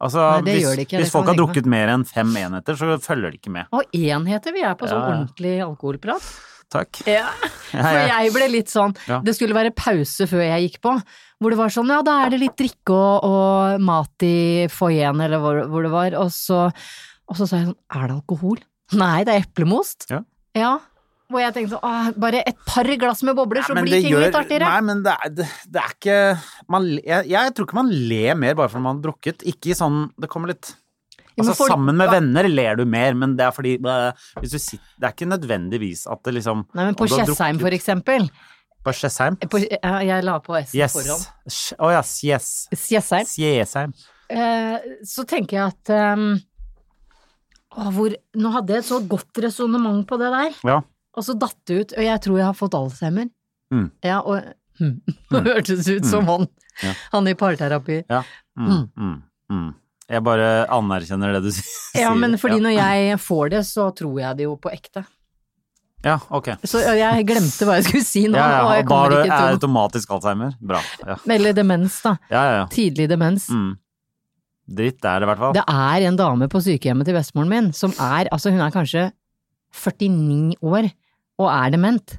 Speaker 3: Altså,
Speaker 1: Nei, det
Speaker 3: hvis,
Speaker 1: gjør de ikke, det
Speaker 3: hvis
Speaker 1: kan
Speaker 3: folk har
Speaker 1: jeg tenke
Speaker 3: drukket mer enn fem enheter, så følger de ikke med.
Speaker 1: Og enheter, vi er på sånn
Speaker 3: Ja, ja.
Speaker 1: ordentlig alkoholprat.
Speaker 3: Takk.
Speaker 1: Ja. For
Speaker 3: ja.
Speaker 1: jeg ble litt sånn
Speaker 3: Ja.
Speaker 1: Det skulle være pause før jeg gikk på, hvor det var sånn ja, da er det litt drikke og, og mat i foajeen, eller hvor, hvor det var, og så, og så sa jeg sånn er det alkohol? Nei, det er eplemost.
Speaker 3: Ja.
Speaker 1: ja. Hvor jeg tenkte sånn «Åh, bare et par glass med bobler, så
Speaker 3: Nei, men
Speaker 1: blir
Speaker 3: det
Speaker 1: ting litt
Speaker 3: gjør-
Speaker 1: artigere.
Speaker 3: Nei, men det er, det, det er ikke man, le- jeg, jeg tror ikke man ler mer bare fordi man har drukket. Ikke i sånn Det kommer litt
Speaker 1: Ja, men
Speaker 3: Altså,
Speaker 1: folk-
Speaker 3: sammen med venner ler du mer, men det er fordi eh, hvis du sitter, Det er ikke nødvendigvis at det liksom
Speaker 1: Nei, men på
Speaker 3: om du har
Speaker 1: Tjessheim
Speaker 3: drukket-
Speaker 1: for eksempel.
Speaker 3: På Tjessheim?
Speaker 1: På, ja, jeg la på S
Speaker 3: Yes.
Speaker 1: foran.
Speaker 3: Sj- Å ja, yes.
Speaker 1: Tjessheim.
Speaker 3: Tjessheim.
Speaker 1: Eh, så tenker jeg at ehm, å, hvor, Nå hadde jeg et så godt resonnement på det der.
Speaker 3: Ja.
Speaker 1: Og så datt det ut, og jeg tror jeg har fått Alzheimer.
Speaker 3: Mm.
Speaker 1: Ja, og mm. Nå hørtes det ut som han,
Speaker 3: Ja.
Speaker 1: han i parterapi.
Speaker 3: Ja. Mm, mm, mm. Jeg bare anerkjenner det du s- sier.
Speaker 1: Ja, men fordi
Speaker 3: ja.
Speaker 1: når jeg får det, så tror jeg det jo på ekte.
Speaker 3: Ja, ok.
Speaker 1: Så jeg glemte hva jeg skulle si nå,
Speaker 3: Ja, ja,
Speaker 1: og jeg
Speaker 3: og da
Speaker 1: kommer
Speaker 3: er du
Speaker 1: ikke
Speaker 3: er
Speaker 1: til
Speaker 3: automatisk Alzheimer. Bra. Ja,
Speaker 1: å Eller demens, da.
Speaker 3: ja, ja. ja.
Speaker 1: Tidlig demens.
Speaker 3: Mm. Dritt er det i hvert fall.
Speaker 1: Det er en dame på sykehjemmet til bestemoren min som er, altså hun er kanskje 49 år og er dement.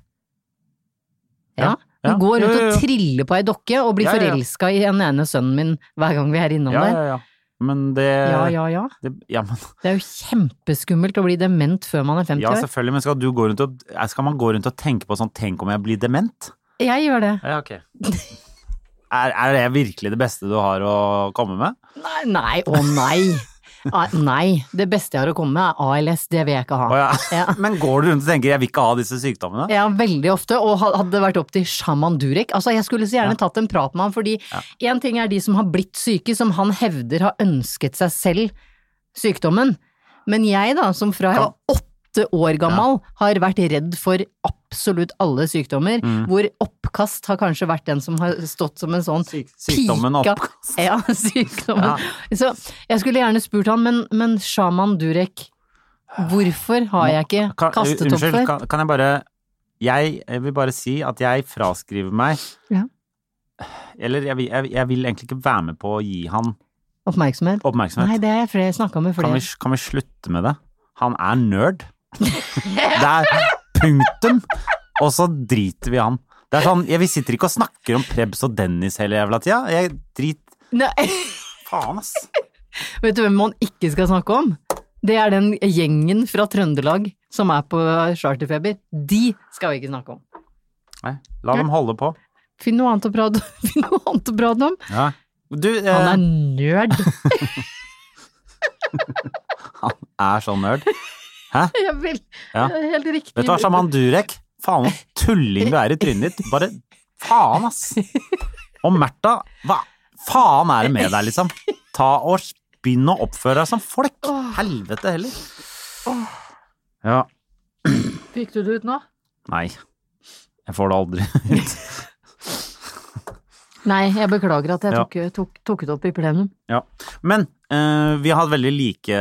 Speaker 1: Ja.
Speaker 3: Ja, ja.
Speaker 1: Hun går rundt
Speaker 3: Jo, jo, jo.
Speaker 1: og triller på ei dokke og blir
Speaker 3: Ja, ja, ja.
Speaker 1: forelska i den ene sønnen min hver gang vi er innom
Speaker 3: ja,
Speaker 1: der.
Speaker 3: ja, ja. Men det
Speaker 1: Ja, ja, ja.
Speaker 3: Det, ja, men,
Speaker 1: Det er jo kjempeskummelt å bli dement før man er 50
Speaker 3: ja,
Speaker 1: år.
Speaker 3: selvfølgelig, men skal, du gå rundt og, eh, skal man gå rundt og tenke på sånn Tenk om jeg blir dement?
Speaker 1: Jeg gjør det.
Speaker 3: Ja, ok. Er, er det virkelig det beste du har å komme med?
Speaker 1: Nei, nei, å nei. Ah, Nei. Det beste jeg har å komme med, er ALS. Det vil jeg ikke
Speaker 3: Å,
Speaker 1: ha.
Speaker 3: ja.
Speaker 1: Ja.
Speaker 3: Men går du rundt og tenker 'jeg vil ikke ha disse sykdommene'?
Speaker 1: Ja, veldig ofte, og ha- hadde det vært opp til Shaman Durek Altså, jeg skulle så gjerne tatt en prat med han, fordi én ting er de som har blitt syke, som han hevder har ønsket seg selv sykdommen, men jeg da, som fra jeg var åtte år gammel, har vært redd for absolutt alle sykdommer,
Speaker 3: Mm.
Speaker 1: hvor oppkast har kanskje vært den som har stått som en sånn
Speaker 3: Syk- sykdommen
Speaker 1: pika-
Speaker 3: oppkast.
Speaker 1: Ja, sykdommen. Så jeg skulle gjerne spurt han, men, men Shaman Durek, hvorfor har jeg ikke
Speaker 3: Kan,
Speaker 1: kastet opp
Speaker 3: unnskyld,
Speaker 1: før?
Speaker 3: kan, kan jeg bare jeg, jeg vil bare si at jeg fraskriver meg
Speaker 1: Ja.
Speaker 3: Eller jeg, vil- jeg, jeg vil egentlig ikke være med på å gi han
Speaker 1: Oppmerksomhet?
Speaker 3: oppmerksomhet.
Speaker 1: Nei, det har jeg flere, snakka med
Speaker 3: kan,
Speaker 1: flere.
Speaker 3: vi, kan vi slutte med det? Han er nerd. Det er punktum! Og så driter vi i han. Det er sånn, jeg, Vi sitter ikke og snakker om Prebz og Dennis hele jævla tida. Jeg drit...
Speaker 1: Nei,
Speaker 3: Faen, ass.
Speaker 1: vet du hvem man ikke skal snakke om? Det er den gjengen fra Trøndelag som er på charterfeber. De skal vi ikke snakke om.
Speaker 3: Nei, la dem holde på.
Speaker 1: Finn noe annet å prate, finn noe annet å prate om.
Speaker 3: Ja. Du, eh,
Speaker 1: Han er nerd.
Speaker 3: er sånn nerd. Hæ?
Speaker 1: Jeg vil.
Speaker 3: Ja.
Speaker 1: Det er Helt riktig.
Speaker 3: Vet du hva, Shaman Durek? Faen, hvor tulling du er i trynet ditt. Bare faen, ass. Og Märtha, hva faen er det med deg, liksom? Ta og begynn å oppføre deg som folk. Helvete heller. Ja.
Speaker 1: Fikk du det ut nå?
Speaker 3: Nei. Jeg får det aldri ut.
Speaker 1: Nei, jeg beklager at jeg
Speaker 3: Ja.
Speaker 1: tok, eh, tok, tok det opp i plenum.
Speaker 3: Ja. Men eh, vi har hatt veldig like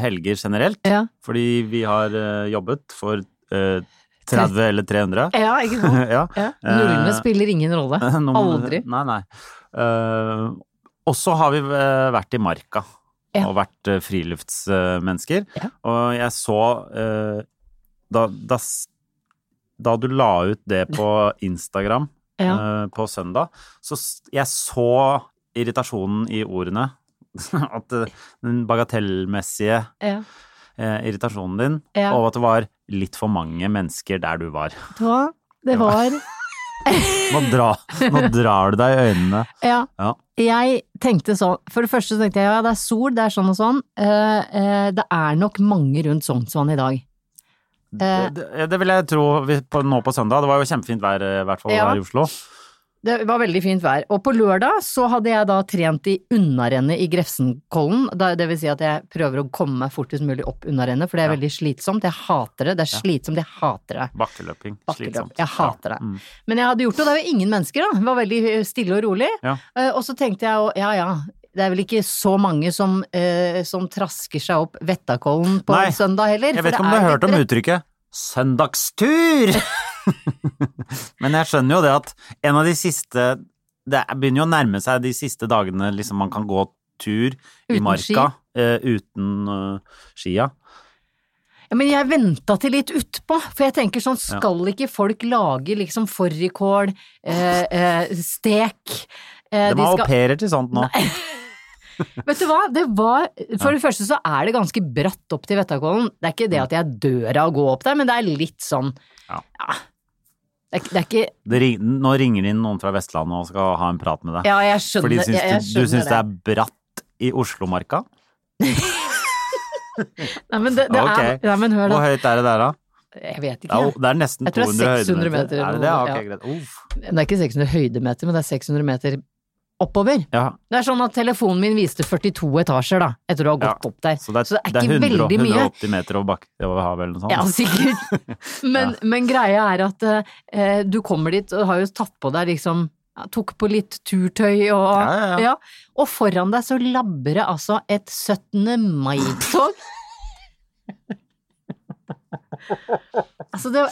Speaker 3: helger generelt,
Speaker 1: Ja,
Speaker 3: fordi vi har eh, jobbet for eh, 30 eller 300.
Speaker 1: ikke sant?
Speaker 3: ja.
Speaker 1: Ja. Nullene
Speaker 3: Eh,
Speaker 1: spiller ingen rolle.
Speaker 3: Nå må du-
Speaker 1: Aldri.
Speaker 3: Nei, nei. Eh, og så har vi eh, vært i marka
Speaker 1: Ja.
Speaker 3: og vært eh, friluftsmennesker.
Speaker 1: Ja.
Speaker 3: Og jeg så eh, da, da, s- da du la ut det på Instagram
Speaker 1: Ja.
Speaker 3: eh, på søndag, så s- jeg så irritasjonen i ordene. At eh, den bagatellmessige
Speaker 1: Ja.
Speaker 3: eh, irritasjonen din,
Speaker 1: Ja.
Speaker 3: og at det var litt for mange mennesker der du var.
Speaker 1: Vet du hva? Det var
Speaker 3: Nå, dra, nå drar du deg i øynene.
Speaker 1: Ja.
Speaker 3: Ja.
Speaker 1: Jeg tenkte sånn, for det første så tenkte jeg ja, det er sol, det er sånn og sånn. Eh, eh, det er nok mange rundt Sognsvann i dag. Eh,
Speaker 3: Det, det, det vil jeg tro vi- på, nå på søndag. Det var jo kjempefint vær, eh, i hvert fall
Speaker 1: Ja.
Speaker 3: her i Oslo.
Speaker 1: Det var veldig fint vær. Og på lørdag så hadde jeg da trent i unnarennet i Grefsenkollen. Da- Det vil si at jeg prøver å komme meg fortest mulig opp unnarennet, for det er
Speaker 3: Ja.
Speaker 1: veldig slitsomt. Jeg hater det. Det er slitsomt. Jeg hater det.
Speaker 3: Bakkeløping.
Speaker 1: Bakkeløp.
Speaker 3: Slitsomt.
Speaker 1: Jeg hater det.
Speaker 3: Ja. Mm.
Speaker 1: Men jeg hadde gjort det, og det var jo ingen mennesker, da. Det var veldig eh, stille og rolig.
Speaker 3: Ja.
Speaker 1: Eh, Og så tenkte jeg jo, ja ja, det er vel ikke så mange som, eh, som trasker seg opp Vettakollen på
Speaker 3: Nei.
Speaker 1: søndag heller.
Speaker 3: Jeg
Speaker 1: for
Speaker 3: vet ikke
Speaker 1: det
Speaker 3: om du
Speaker 1: er
Speaker 3: har hørt
Speaker 1: litt
Speaker 3: om
Speaker 1: bredt.
Speaker 3: uttrykket 'søndagstur'! Men jeg skjønner jo det at en av de siste Det er- begynner jo å nærme seg de siste dagene liksom man kan gå tur i
Speaker 1: Uten
Speaker 3: marka eh, uten eh, skia.
Speaker 1: Ja, men jeg venta til litt utpå, for jeg tenker sånn, skal ikke folk lage liksom fårikål, eh, eh, stek eh,
Speaker 3: De
Speaker 1: de
Speaker 3: har au
Speaker 1: skal-
Speaker 3: pairer til sånt nå.
Speaker 1: Vet du hva, det var For det første så er det ganske bratt opp til Vettakollen. Det er ikke det at jeg dør av å gå opp der, men det er litt sånn
Speaker 3: Mm. Ja.
Speaker 1: Det, er, ikke- det er ikke
Speaker 3: Det ring, nå ringer det inn noen fra Vestlandet og skal ha en prat med deg.
Speaker 1: Ja, jeg skjønner,
Speaker 3: Fordi syns
Speaker 1: jeg, jeg
Speaker 3: du,
Speaker 1: skjønner
Speaker 3: du syns det er bratt i Oslomarka?
Speaker 1: Nei, men, det, det
Speaker 3: Ok.
Speaker 1: er, nei, men hør,
Speaker 3: Hvor
Speaker 1: da.
Speaker 3: høyt er det der, da?
Speaker 1: Jeg vet ikke.
Speaker 3: Ja,
Speaker 1: jeg.
Speaker 3: det er nesten
Speaker 1: Jeg tror
Speaker 3: 200
Speaker 1: det er 600 meter
Speaker 3: høydemeter.
Speaker 1: eller
Speaker 3: Er det det?
Speaker 1: noe,
Speaker 3: Ok,
Speaker 1: ja.
Speaker 3: greit. Uff.
Speaker 1: Det er ikke 600 høydemeter, men det er 600 meter oppover.
Speaker 3: Ja,
Speaker 1: Det er sånn at telefonen min viste 42 etasjer, da, etter du har gått
Speaker 3: Ja.
Speaker 1: opp der.
Speaker 3: så det er, det
Speaker 1: ikke
Speaker 3: er 100, og-
Speaker 1: veldig mye.
Speaker 3: 180 meter over bakken over havet eller noe sånt.
Speaker 1: Ja, sikkert. Men, men greia er at eh, du kommer dit og har jo tatt på deg liksom ja, Tok på litt turtøy og
Speaker 3: Ja, ja, ja.
Speaker 1: Og foran deg så labber det altså et 17. mai-tog. altså, det,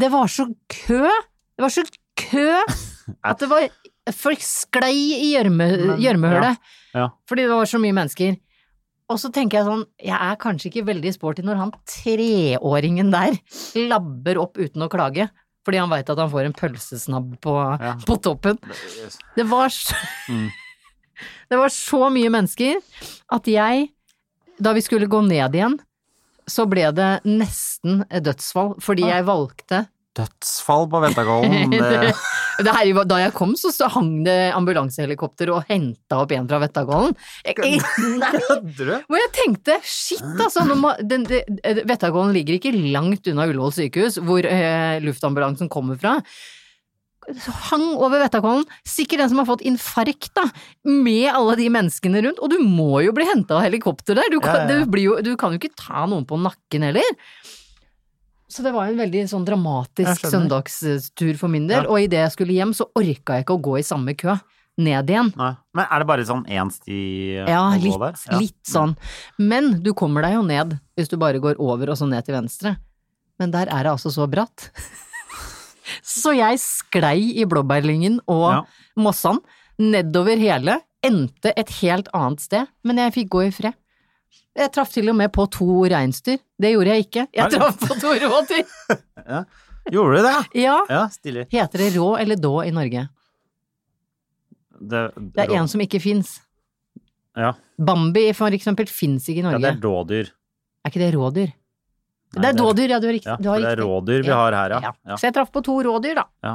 Speaker 1: det var så kø. Det var så kø at det var Folk sklei i gjørme- gjørmehullet.
Speaker 3: ja.
Speaker 1: Fordi det var så mye mennesker. Og så tenker jeg sånn, jeg er kanskje ikke veldig sporty når han treåringen der labber opp uten å klage, fordi han veit at han får en pølsesnabb på,
Speaker 3: Ja. Mm.
Speaker 1: på toppen. Det var så Det var så mye mennesker at jeg, da vi skulle gå ned igjen, så ble det nesten et dødsfall, fordi
Speaker 3: Ah.
Speaker 1: jeg valgte
Speaker 3: Dødsfall på Ventakollen. Det,
Speaker 1: det her, var- da jeg kom, så, så hang det ambulansehelikopter og henta opp en fra Vettakollen. Jeg- Nei! Hvor jeg tenkte, shit altså, nå må- den- det- det- Vettakollen ligger ikke langt unna Ullevål sykehus, hvor eh, luftambulansen kommer fra. Hang over Vettakollen, sikkert den som har fått infarkt, da, med alle de menneskene rundt. Og du må jo bli henta av helikopter der, du kan,
Speaker 3: Ja, ja, ja.
Speaker 1: Du, blir jo, du kan jo ikke ta noen på nakken heller. Så det var en veldig sånn dramatisk
Speaker 3: Jeg skjønner.
Speaker 1: søndagstur for min del,
Speaker 3: Ja.
Speaker 1: og idet jeg skulle hjem, så orka jeg ikke å gå i samme kø. Ned igjen.
Speaker 3: Nei. Men er det bare sånn én sti eh,
Speaker 1: Ja,
Speaker 3: å gå
Speaker 1: litt,
Speaker 3: der? Ja.
Speaker 1: litt sånn. Men du kommer deg jo ned hvis du bare går over og så ned til venstre. Men der er det altså så bratt. så jeg sklei i blåbærlyngen og
Speaker 3: Ja.
Speaker 1: mossan nedover hele, endte et helt annet sted, men jeg fikk gå i fred. Jeg traff til og med på to reinsdyr. Det gjorde jeg ikke. Jeg
Speaker 3: Nei.
Speaker 1: traff på to rådyr.
Speaker 3: Gjorde du det?
Speaker 1: Ja.
Speaker 3: Ja, stilig.
Speaker 1: Heter det rå eller då i Norge?
Speaker 3: Det,
Speaker 1: Det er en som ikke fins.
Speaker 3: Ja.
Speaker 1: Bambi for eksempel fins ikke i
Speaker 3: ja,
Speaker 1: Norge.
Speaker 3: det er dådyr.
Speaker 1: Er ikke det rådyr?
Speaker 3: Nei,
Speaker 1: det er
Speaker 3: det er-
Speaker 1: dådyr, ja, du har riktig.
Speaker 3: Ja,
Speaker 1: du har
Speaker 3: for det er
Speaker 1: riktig.
Speaker 3: rådyr vi
Speaker 1: Ja.
Speaker 3: har her, ja.
Speaker 1: Ja.
Speaker 3: ja.
Speaker 1: Så jeg traff på to rådyr, da.
Speaker 3: ja.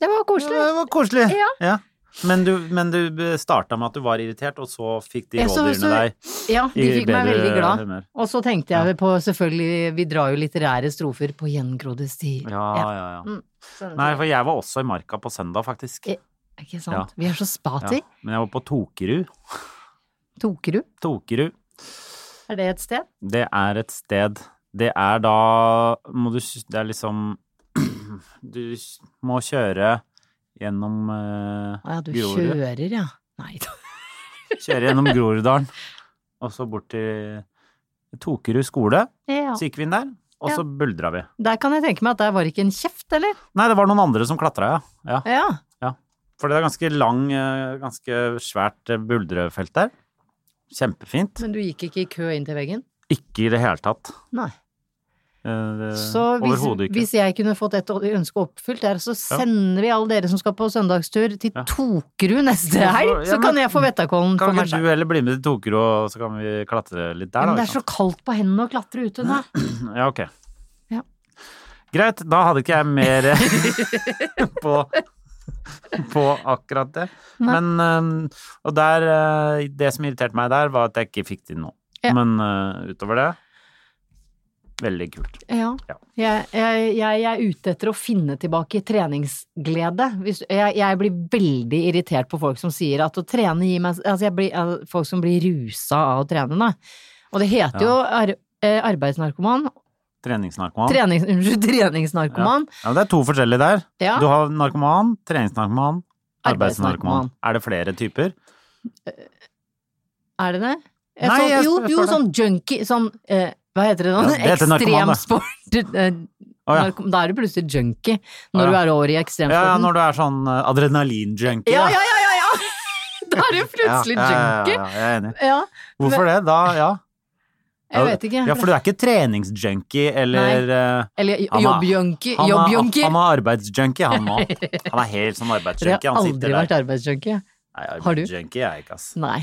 Speaker 1: Det var
Speaker 3: Ja,
Speaker 1: koselig.
Speaker 3: Det var koselig.
Speaker 1: Ja.
Speaker 3: Men du, men du starta med at du var irritert, og så fikk de
Speaker 1: Ja, så-
Speaker 3: rådyrene
Speaker 1: så-
Speaker 3: deg
Speaker 1: Ja, de
Speaker 3: I
Speaker 1: fikk meg
Speaker 3: bedre
Speaker 1: veldig glad.
Speaker 3: humør.
Speaker 1: Og så tenkte jeg på selvfølgelig, vi drar jo litterære strofer på gjengrodde stier.
Speaker 3: Ja, ja, ja.
Speaker 1: Mm, sånn
Speaker 3: Nei,
Speaker 1: ting.
Speaker 3: for jeg var også i marka på søndag, faktisk.
Speaker 1: I- Ikke sant?
Speaker 3: Ja.
Speaker 1: Vi er så
Speaker 3: Ja.
Speaker 1: spati.
Speaker 3: Men jeg var på Tokerud.
Speaker 1: Tokerud,
Speaker 3: Tokerud,
Speaker 1: er det et sted?
Speaker 3: det er et sted Det er da må du, s- Det er liksom Du s- må kjøre gjennom eh,
Speaker 1: Å ja, du
Speaker 3: Grorud.
Speaker 1: kjører, ja. Nei da.
Speaker 3: Kjøre gjennom Groruddalen, og så bort til Tokerud skole.
Speaker 1: Ja.
Speaker 3: Så gikk vi inn der, og
Speaker 1: Ja.
Speaker 3: så buldra vi.
Speaker 1: Der kan jeg tenke meg at der var ikke en kjeft, eller?
Speaker 3: Nei, det var noen andre som klatra, ja. ja.
Speaker 1: Ja.
Speaker 3: For det er ganske lang, eh, ganske svært eh, buldrefelt der. Kjempefint.
Speaker 1: Men du gikk ikke i kø inn til veggen?
Speaker 3: Ikke i det hele tatt.
Speaker 1: Nei.
Speaker 3: Eh, det-
Speaker 1: Så hvis,
Speaker 3: Overhodet ikke.
Speaker 1: hvis jeg kunne fått et ønske oppfylt der, så sender vi alle dere som skal på søndagstur til
Speaker 3: Ja.
Speaker 1: Tokerud neste
Speaker 3: Ja,
Speaker 1: helg,
Speaker 3: men-
Speaker 1: så kan jeg få Vettakollen for
Speaker 3: Kan
Speaker 1: meg
Speaker 3: ikke
Speaker 1: selv.
Speaker 3: du heller bli med til Tokerud, og så kan vi klatre litt der,
Speaker 1: Men
Speaker 3: da?
Speaker 1: det
Speaker 3: ikke
Speaker 1: er så kaldt på hendene å klatre ute nå.
Speaker 3: sant? Ja, ok.
Speaker 1: Ja.
Speaker 3: Greit, da hadde ikke jeg mer eh, på, på akkurat det. Men eh, Og der eh, Det som irriterte meg der, var at jeg ikke fikk til noe.
Speaker 1: Ja.
Speaker 3: Men eh, utover det Veldig kult.
Speaker 1: Ja.
Speaker 3: Ja.
Speaker 1: Jeg, jeg, jeg er ute etter å finne tilbake treningsglede. Hvis, jeg, jeg blir veldig irritert på folk som sier at å trene gir meg altså jeg blir, eh, Folk som blir rusa av å trene, da. Og det heter jo ar, eh, arbeidsnarkoman.
Speaker 3: Treningsnarkoman.
Speaker 1: Trenings, unnskyld, treningsnarkoman.
Speaker 3: Ja, men det er to forskjellige der.
Speaker 1: Ja.
Speaker 3: Du har narkoman, treningsnarkoman,
Speaker 1: Arbeidsnarkoman.
Speaker 3: arbeidsnarkoman. Er det flere typer?
Speaker 1: Er det det? Eh,
Speaker 3: Nei,
Speaker 1: sånn,
Speaker 3: jeg
Speaker 1: jo,
Speaker 3: spør-
Speaker 1: jo,
Speaker 3: spør deg.
Speaker 1: sånn junkie Sånn eh, Hva heter det? Sånn
Speaker 3: Ja, det heter narkoman, da.
Speaker 1: ekstremsport. eh,
Speaker 3: Å ja.
Speaker 1: narko- Da er du plutselig junkie
Speaker 3: Å,
Speaker 1: når
Speaker 3: ja.
Speaker 1: du er over i
Speaker 3: Ja, ja,
Speaker 1: ekstremsporten.
Speaker 3: når du er sånn eh, adrenalinjunkie.
Speaker 1: Ja,
Speaker 3: da.
Speaker 1: ja, ja, ja! ja. Da er du plutselig
Speaker 3: Ja, ja,
Speaker 1: junkie.
Speaker 3: Ja, ja, jeg er enig.
Speaker 1: Ja,
Speaker 3: Hvorfor det? Da, ja.
Speaker 1: jeg vet ikke.
Speaker 3: Ja, for du er ikke treningsjunkie eller eh,
Speaker 1: Eller
Speaker 3: Han er-
Speaker 1: jobbjunkie.
Speaker 3: han, er,
Speaker 1: Jobbjunkie.
Speaker 3: han er arbeidsjunkie, han òg. Han er helt sånn
Speaker 1: Jeg
Speaker 3: arbeidsjunkie.
Speaker 1: har
Speaker 3: Han
Speaker 1: aldri
Speaker 3: sitter
Speaker 1: vært
Speaker 3: der.
Speaker 1: arbeidsjunkie.
Speaker 3: Nei,
Speaker 1: Har du?
Speaker 3: arbeidsjunkie er jeg ikke, ass.
Speaker 1: Nei.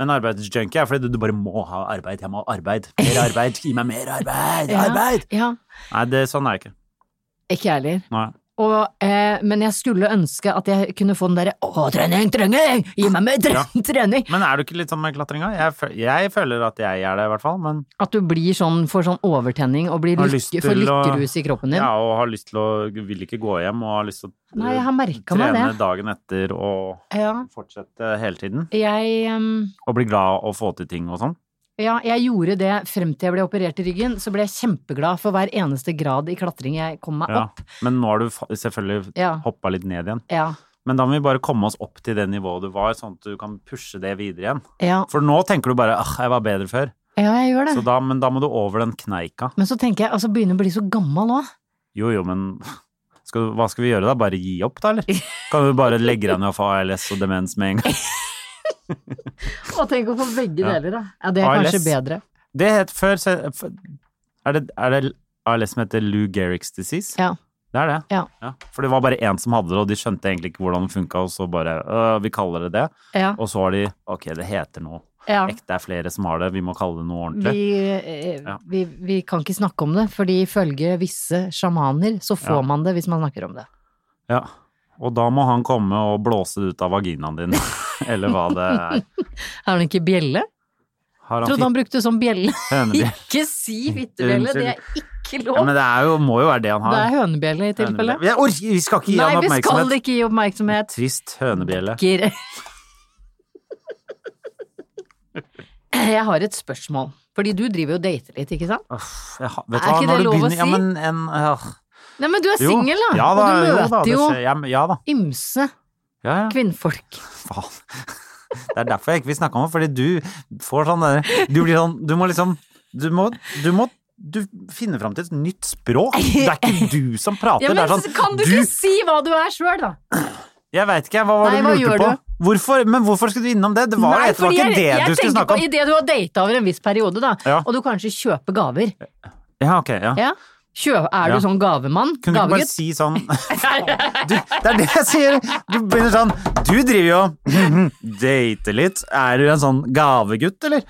Speaker 3: Men arbeidsjunkie er fordi du, du bare må ha arbeid. Jeg må ha arbeid. Mer arbeid. Gi meg mer arbeid.
Speaker 1: Ja.
Speaker 3: Arbeid!
Speaker 1: Ja,
Speaker 3: Nei, det, sånn er jeg ikke.
Speaker 1: ikke jeg heller.
Speaker 3: Nei.
Speaker 1: Og, eh, men jeg skulle ønske at jeg kunne få den derre å, trening, trening, gi meg mer tre
Speaker 3: Ja.
Speaker 1: trening!
Speaker 3: Men er du ikke litt sånn med klatringa? Jeg, føl- jeg føler at jeg er det, i hvert fall. Men
Speaker 1: At du blir sånn, får sånn overtenning og blir
Speaker 3: Har
Speaker 1: lykke,
Speaker 3: lyst
Speaker 1: får
Speaker 3: til å-
Speaker 1: lykkerus i kroppen din.
Speaker 3: ja, og har lyst til å Vil ikke gå hjem, og har lyst til å eh,
Speaker 1: Nei, jeg har merka meg
Speaker 3: trene
Speaker 1: det.
Speaker 3: dagen etter og
Speaker 1: Ja.
Speaker 3: fortsette hele tiden.
Speaker 1: Jeg, ehm,
Speaker 3: Og bli glad og få til ting og sånn.
Speaker 1: ja, jeg gjorde det frem til jeg ble operert i ryggen. Så ble jeg kjempeglad for hver eneste grad i klatring jeg kom meg
Speaker 3: Ja.
Speaker 1: opp.
Speaker 3: Men nå har du fa- selvfølgelig
Speaker 1: Ja.
Speaker 3: hoppa litt ned igjen.
Speaker 1: Ja.
Speaker 3: Men da må vi bare komme oss opp til det nivået du var, sånn at du kan pushe det videre igjen.
Speaker 1: Ja,
Speaker 3: For nå tenker du bare ah, jeg var bedre før.
Speaker 1: ja jeg gjør det.
Speaker 3: Så da, men da må du over den kneika.
Speaker 1: Men så tenker jeg, altså begynner å bli så gammel nå.
Speaker 3: Jo, jo, men skal, du- hva skal vi gjøre da? Bare gi opp, da, eller? Kan du bare legge deg ned og få ALS og demens med en gang?
Speaker 1: Og tenk å få begge
Speaker 3: Ja.
Speaker 1: deler, da. Ja, det er kanskje
Speaker 3: ALS.
Speaker 1: bedre.
Speaker 3: Det het før se- f- Er det, er det ALS som heter Lou Gehrig's disease?
Speaker 1: Ja.
Speaker 3: Det er det.
Speaker 1: Ja.
Speaker 3: For det var bare én som hadde det, og de skjønte egentlig ikke hvordan det funka, og så bare øh, Vi kaller det det.
Speaker 1: Ja.
Speaker 3: Og så har de Ok, det heter noe.
Speaker 1: ja.
Speaker 3: Ekte er flere som har det, vi må kalle det noe
Speaker 1: Vi,
Speaker 3: ordentlig.
Speaker 1: eh,
Speaker 3: Ja.
Speaker 1: vi, vi kan ikke snakke om det, fordi ifølge visse sjamaner så får
Speaker 3: Ja.
Speaker 1: man det hvis man snakker om det.
Speaker 3: Ja. Og da må han komme og blåse det ut av vaginaen din, eller hva det er.
Speaker 1: Er det ikke bjelle?
Speaker 3: Har
Speaker 1: Trodde han brukte sånn bjelle.
Speaker 3: hønebjell?
Speaker 1: Ikke si fittebjelle, det er ikke lov!
Speaker 3: Mm, Ja, men det er jo, må jo være det han
Speaker 1: det er
Speaker 3: har.
Speaker 1: hønebjelle i tilfellet.
Speaker 3: Jeg orker, vi skal ikke gi
Speaker 1: Nei,
Speaker 3: han
Speaker 1: vi skal
Speaker 3: oppmerksomhet.
Speaker 1: ikke gi oppmerksomhet.
Speaker 3: Trist hønebjelle.
Speaker 1: Gir. Jeg har et spørsmål. Fordi du driver jo og dater litt, ikke sant?
Speaker 3: Uff, jeg, har- vet du
Speaker 1: Er
Speaker 3: hva,
Speaker 1: ikke
Speaker 3: når
Speaker 1: det
Speaker 3: du
Speaker 1: lov å
Speaker 3: begynner, Ja,
Speaker 1: si?
Speaker 3: men en, øh,
Speaker 1: Nei, men du er singel, da!
Speaker 3: Ja, da
Speaker 1: og du
Speaker 3: jo, da,
Speaker 1: møter
Speaker 3: det
Speaker 1: jo,
Speaker 3: skjer. ja, men- ja da.
Speaker 1: ymse
Speaker 3: Ja, ja.
Speaker 1: kvinnfolk.
Speaker 3: Faen. Det er derfor jeg ikke vil snakke om det, fordi du får sånn der Du blir sånn Du må liksom Du må, du må du finner fram til et nytt språk. Det er ikke du som prater.
Speaker 1: Ja, men
Speaker 3: det er sånn,
Speaker 1: kan du, ikke si hva du er sjøl, da?
Speaker 3: Jeg veit ikke, jeg. Hva var det
Speaker 1: Nei, hva
Speaker 3: du lurte
Speaker 1: gjør
Speaker 3: på? Hvorfor, men hvorfor skulle du innom det? Det var, det var ikke
Speaker 1: jeg,
Speaker 3: det
Speaker 1: jeg
Speaker 3: du
Speaker 1: tenker
Speaker 3: skulle snakke
Speaker 1: på
Speaker 3: om.
Speaker 1: Idet du har data over en viss periode, da,
Speaker 3: Ja.
Speaker 1: og du kanskje kjøper gaver.
Speaker 3: Ja, ok, ja.
Speaker 1: Ja? Kjø, er du
Speaker 3: Ja.
Speaker 1: sånn gavemann?
Speaker 3: Kunne du ikke bare
Speaker 1: Gavegutt?
Speaker 3: si sånn du, Det er det jeg sier! Du begynner sånn Du driver jo og dater litt. Er du en sånn gavegutt, eller?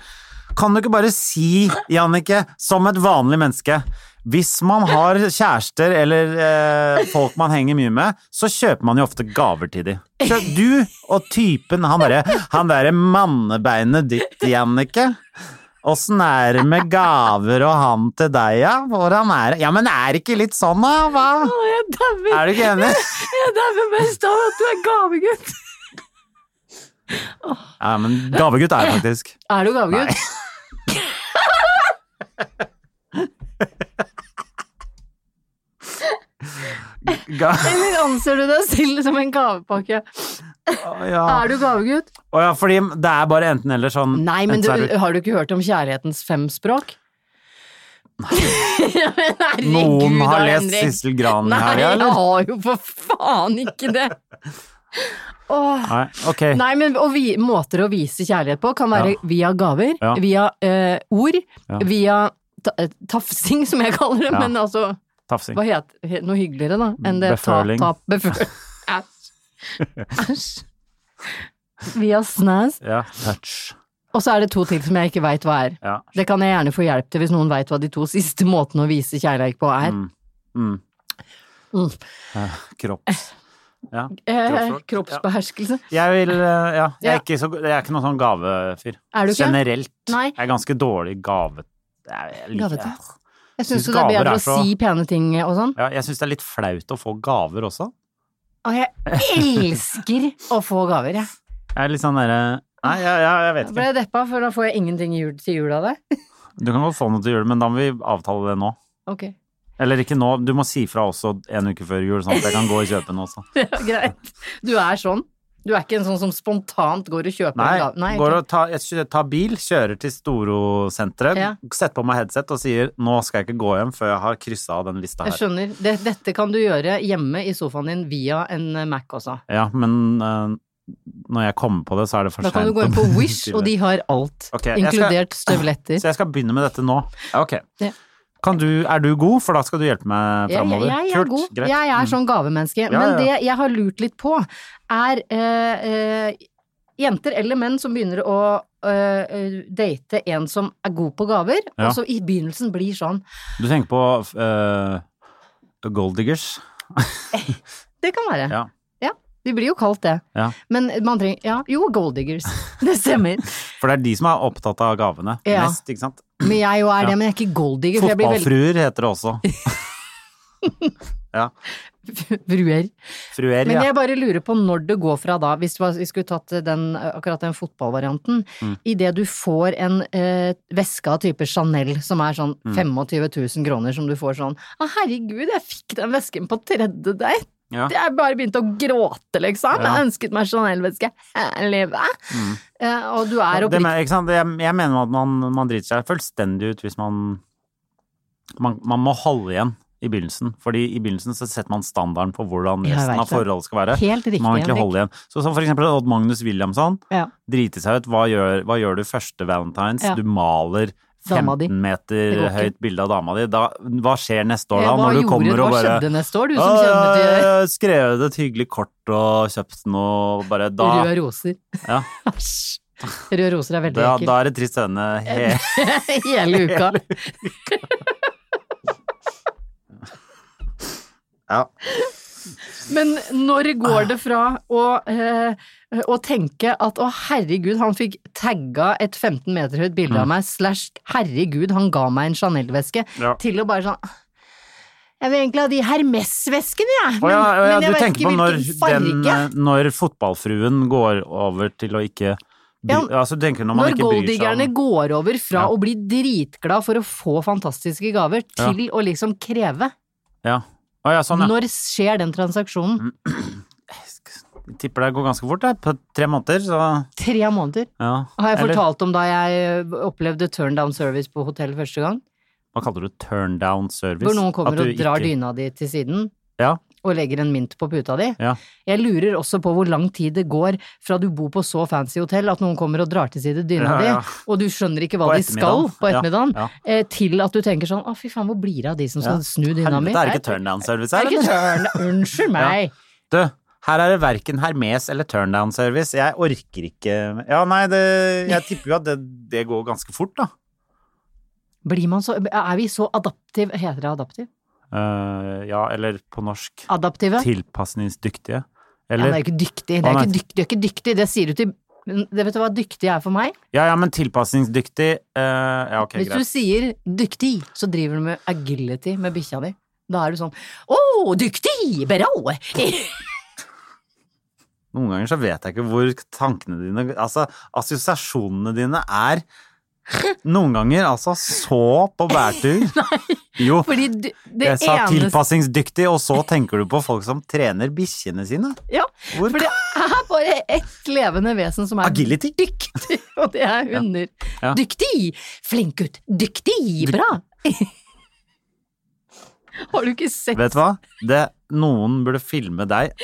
Speaker 3: Kan du ikke bare si, Jannicke, som et vanlig menneske Hvis man har kjærester eller eh, folk man henger mye med, så kjøper man jo ofte gaver til de. Så du og typen, han derre han der mannebeinet ditt, Jannicke. Åssen er det med gaver og han til deg, ja? Hvordan er det? Ja, men er det ikke litt sånn, da? Hva?
Speaker 2: Å, jeg dauer.
Speaker 3: Er du ikke enig?
Speaker 2: Jeg dauer mest av at du er gavegutt.
Speaker 3: Ja, men gavegutt er jeg faktisk.
Speaker 1: Er du gavegutt?
Speaker 3: Ga
Speaker 1: Eller anser du deg selv som en gavepakke?
Speaker 3: ja.
Speaker 1: Er du gavegutt?
Speaker 3: Å ja, fordi det er bare enten eller sånn
Speaker 1: Nei, men
Speaker 3: enten
Speaker 1: du,
Speaker 3: så er du-
Speaker 1: har du ikke hørt om kjærlighetens fem språk? ja, men herregud,
Speaker 3: Noen har
Speaker 1: da,
Speaker 3: lest
Speaker 1: Henrik.
Speaker 3: Sissel Gran i
Speaker 1: Nei,
Speaker 3: helga,
Speaker 1: jeg
Speaker 3: eller?
Speaker 1: har jo for faen ikke det! Åh.
Speaker 3: Nei, ok.
Speaker 1: Nei, men og vi, måter å vise kjærlighet på kan være
Speaker 3: Ja.
Speaker 1: via gaver,
Speaker 3: Ja.
Speaker 1: via eh, ord,
Speaker 3: Ja.
Speaker 1: via ta, eh, tafsing, som jeg kaller det,
Speaker 3: Ja.
Speaker 1: men altså
Speaker 3: Tafsing.
Speaker 1: Hva het he- noe hyggeligere, da? Enn det
Speaker 3: Beføling.
Speaker 1: ta, ta, beføling. Æsj. Æsj. Via snæs.
Speaker 3: Ja, touch.
Speaker 1: Og så er det to til som jeg ikke veit hva er.
Speaker 3: Ja.
Speaker 1: Det kan jeg gjerne få hjelp til hvis noen veit hva de to siste måtene å vise kjærlighet på er.
Speaker 3: Mm. Mm.
Speaker 1: Mm.
Speaker 3: Eh, Kropps. Ja.
Speaker 1: Eh,
Speaker 3: Kroppsspråk.
Speaker 1: kroppsbeherskelse.
Speaker 3: Jeg vil eh, Ja, jeg
Speaker 1: Ja.
Speaker 3: er ikke, så, jeg er ikke noen sånn gavefyr.
Speaker 1: Er du ikke?
Speaker 3: Generelt.
Speaker 1: Nei.
Speaker 3: Jeg er ganske dårlig gave... Jeg, jeg, liker-
Speaker 1: Gavete? Jeg syns jo
Speaker 3: Synes
Speaker 1: det er
Speaker 3: gaver
Speaker 1: bedre
Speaker 3: er
Speaker 1: å
Speaker 3: så-
Speaker 1: si pene ting og sånn.
Speaker 3: ja, jeg syns det er litt flaut å få gaver også.
Speaker 1: Og jeg elsker å få gaver, jeg.
Speaker 3: Jeg er litt sånn derre Nei, jeg, jeg, jeg vet
Speaker 1: Da
Speaker 3: ikke.
Speaker 1: ble jeg deppa, for da får jeg ingenting i jul, til jul av deg.
Speaker 3: Du kan godt få noe til jul, men da må vi avtale det nå.
Speaker 1: Ok,
Speaker 3: Eller ikke nå, du må si fra også en uke før jul, sånn at jeg kan gå og kjøpe noe også.
Speaker 1: det er greit. Du er sånn. Du er ikke en sånn som spontant går og kjøper
Speaker 3: Nei,
Speaker 1: en gave. Nei,
Speaker 3: går
Speaker 1: ok.
Speaker 3: og tar, jeg kjø- tar bil, kjører til Storo-senteret,
Speaker 1: Ja.
Speaker 3: setter på meg headset og sier 'nå skal jeg ikke gå hjem før jeg har kryssa av den lista
Speaker 1: Jeg
Speaker 3: her'.
Speaker 1: skjønner. Det, dette kan du gjøre hjemme i sofaen din via en eh, Mac også.
Speaker 3: Ja, men eh, når jeg kommer på det, så er det for
Speaker 1: Da
Speaker 3: seint.
Speaker 1: kan du gå inn på Wish, og de har alt.
Speaker 3: Ok, jeg skal-
Speaker 1: Inkludert støvletter.
Speaker 3: Så jeg skal begynne med dette nå. Ja, Ok.
Speaker 1: Ja.
Speaker 3: Kan du, er du god, for da skal du hjelpe meg
Speaker 1: Jeg, jeg,
Speaker 3: framover?
Speaker 1: jeg, er god.
Speaker 3: Greit. Mm.
Speaker 1: Jeg er sånn gavemenneske.
Speaker 3: Ja,
Speaker 1: Men
Speaker 3: ja, ja.
Speaker 1: det jeg har lurt litt på, er eh, eh, jenter eller menn som begynner å eh, eh, date en som er god på gaver,
Speaker 3: Ja.
Speaker 1: og så i begynnelsen blir sånn
Speaker 3: Mm. Du tenker på uh, Gold Diggers?
Speaker 1: Det kan være.
Speaker 3: Ja.
Speaker 1: Vi blir jo kalt det.
Speaker 3: Ja.
Speaker 1: Men man trenger ja, Jo, gold diggers. Det stemmer.
Speaker 3: For det er de som er opptatt av gavene
Speaker 1: Ja.
Speaker 3: mest, ikke sant?
Speaker 1: Men jeg jo er
Speaker 3: Ja.
Speaker 1: det, men jeg er ikke gold digger. for jeg blir veldig-
Speaker 3: Fotballfruer heter det også. ja.
Speaker 1: Fruer.
Speaker 3: Fruer,
Speaker 1: Men
Speaker 3: ja.
Speaker 1: jeg bare lurer på når det går fra da, hvis det var- vi skulle tatt den, akkurat den fotballvarianten,
Speaker 3: Mm.
Speaker 1: i idet du får en eh, veske av type Chanel som er sånn
Speaker 3: Mm.
Speaker 1: 25 000 kroner, som du får sånn Å, herregud, jeg fikk den vesken på tredje date!
Speaker 3: Ja.
Speaker 1: Jeg bare begynte å gråte, liksom.
Speaker 3: Ja. Mm.
Speaker 1: Jeg ønsket meg Chanel-veske hele livet. Eh, og du er
Speaker 3: det,
Speaker 1: oppriktig
Speaker 3: men- ikke sant? Jeg, jeg mener at man, man driter seg fullstendig ut hvis man, man Man må holde igjen i begynnelsen. Fordi i begynnelsen så setter man standarden for hvordan
Speaker 1: Jeg
Speaker 3: resten
Speaker 1: vet
Speaker 3: av
Speaker 1: det.
Speaker 3: forholdet skal være.
Speaker 1: Helt riktig,
Speaker 3: man må egentlig
Speaker 1: Henrik.
Speaker 3: holde igjen. Så som for eksempel Odd Magnus Williamson.
Speaker 1: Ja.
Speaker 3: Drite seg ut. Hva gjør, hva gjør du første valentines?
Speaker 1: Ja.
Speaker 3: Du maler
Speaker 1: Dama di.
Speaker 3: 15 meter
Speaker 1: Det går ikke.
Speaker 3: høyt bilde av dama di. Da, hva skjer neste år
Speaker 1: Ja,
Speaker 3: da?
Speaker 1: hva
Speaker 3: Når du
Speaker 1: gjorde-
Speaker 3: kommer og
Speaker 1: hva
Speaker 3: bare
Speaker 1: skjedde neste år, du som
Speaker 3: «Å,
Speaker 1: kjenner til-
Speaker 3: jeg har Skrevet et hyggelig kort og kjøpt noe, bare da
Speaker 1: Røde roser.
Speaker 3: Ja.
Speaker 1: Æsj. Røde roser er veldig
Speaker 3: Da,
Speaker 1: ekkelt. Eh,
Speaker 3: da er det trist øyne. He-
Speaker 1: Hele uka.
Speaker 3: Ja.
Speaker 1: Men når går det fra å, eh, å tenke at å herregud, han fikk tagga et 15 meter høyt bilde av meg, slash herregud, han ga meg en Chanel-veske,
Speaker 3: Mm. Ja.
Speaker 1: til å bare sånn Jeg vil egentlig ha de Hermes-veskene, jeg,
Speaker 3: Å ja, å
Speaker 1: men
Speaker 3: ja, du
Speaker 1: jeg vet
Speaker 3: tenker
Speaker 1: ikke
Speaker 3: på når,
Speaker 1: hvilken farge.
Speaker 3: den, eh, når fotballfruen går over til å ikke
Speaker 1: Ja,
Speaker 3: bry, altså, du tenker når man
Speaker 1: Når
Speaker 3: ikke bryr seg
Speaker 1: golddiggerne
Speaker 3: om
Speaker 1: går over fra
Speaker 3: Ja.
Speaker 1: å bli dritglad for å få fantastiske gaver, til å liksom kreve.
Speaker 3: ja. Å ja, Mm. sånn, ja.
Speaker 1: Når skjer den transaksjonen?
Speaker 3: Jeg tipper det går ganske fort, det. På tre måneder, så
Speaker 1: Tre måneder.
Speaker 3: ja.
Speaker 1: Har jeg
Speaker 3: Eller-
Speaker 1: fortalt om da jeg eh, opplevde turn down service på hotell første gang?
Speaker 3: Hva kaller du turn down service?
Speaker 1: Hvor noen
Speaker 3: At
Speaker 1: kommer
Speaker 3: du
Speaker 1: og drar
Speaker 3: ikke-
Speaker 1: dyna di til siden
Speaker 3: Ja,
Speaker 1: og legger en mynt på puta di.
Speaker 3: ja.
Speaker 1: Jeg lurer også på hvor lang tid det går fra du bor på så fancy hotell at noen kommer og drar til side dyna
Speaker 3: Ja, ja.
Speaker 1: di, og du skjønner ikke hva
Speaker 3: På
Speaker 1: de skal
Speaker 3: ettermiddagen.
Speaker 1: på
Speaker 3: Ja,
Speaker 1: ettermiddagen,
Speaker 3: ja.
Speaker 1: eh, til at du tenker sånn å fy faen, hvor blir det av de som skal snu dyna mi?
Speaker 3: Helvete, er det ikke turn down service her?
Speaker 1: Det er ikke
Speaker 3: eller?
Speaker 1: turn, unnskyld meg.
Speaker 3: Du, her er det verken Hermes eller turn down service. Jeg orker ikke Ja, nei, det, jeg tipper jo at det, det går ganske fort, da.
Speaker 1: Blir man så Er vi så adaptiv Heter det adaptiv?
Speaker 3: Eh, ja, eller på norsk
Speaker 1: Adaptive? Ja,
Speaker 3: tilpasningsdyktige. Eller
Speaker 1: det er jo ikke dyktig. Det er
Speaker 3: Å, nei.
Speaker 1: ikke dyktig. Det er ikke dyktig. Det sier du til det Vet du hva dyktig er for meg?
Speaker 3: Ja, ja, men tilpasningsdyktig eh, Ja, ok,
Speaker 1: Hvis du
Speaker 3: greit.
Speaker 1: sier dyktig, så driver du med agility med bikkja di. Da er du sånn Å, dyktig! Bra!
Speaker 3: Noen ganger så vet jeg ikke hvor tankene dine Altså, assosiasjonene dine er noen ganger altså så på bærtur. Jo,
Speaker 1: Fordi du, det
Speaker 3: jeg sa
Speaker 1: eneste
Speaker 3: tilpasningsdyktig, og så tenker du på folk som trener bikkjene sine.
Speaker 1: Ja,
Speaker 3: Hvor
Speaker 1: for det er bare ett levende vesen som er
Speaker 3: Agility.
Speaker 1: dyktig, og det er hunder.
Speaker 3: Ja.
Speaker 1: Dyktig! Flink gutt! Dyktig! Bra! Har du ikke sett
Speaker 3: Vet du hva? Det, noen burde filme deg,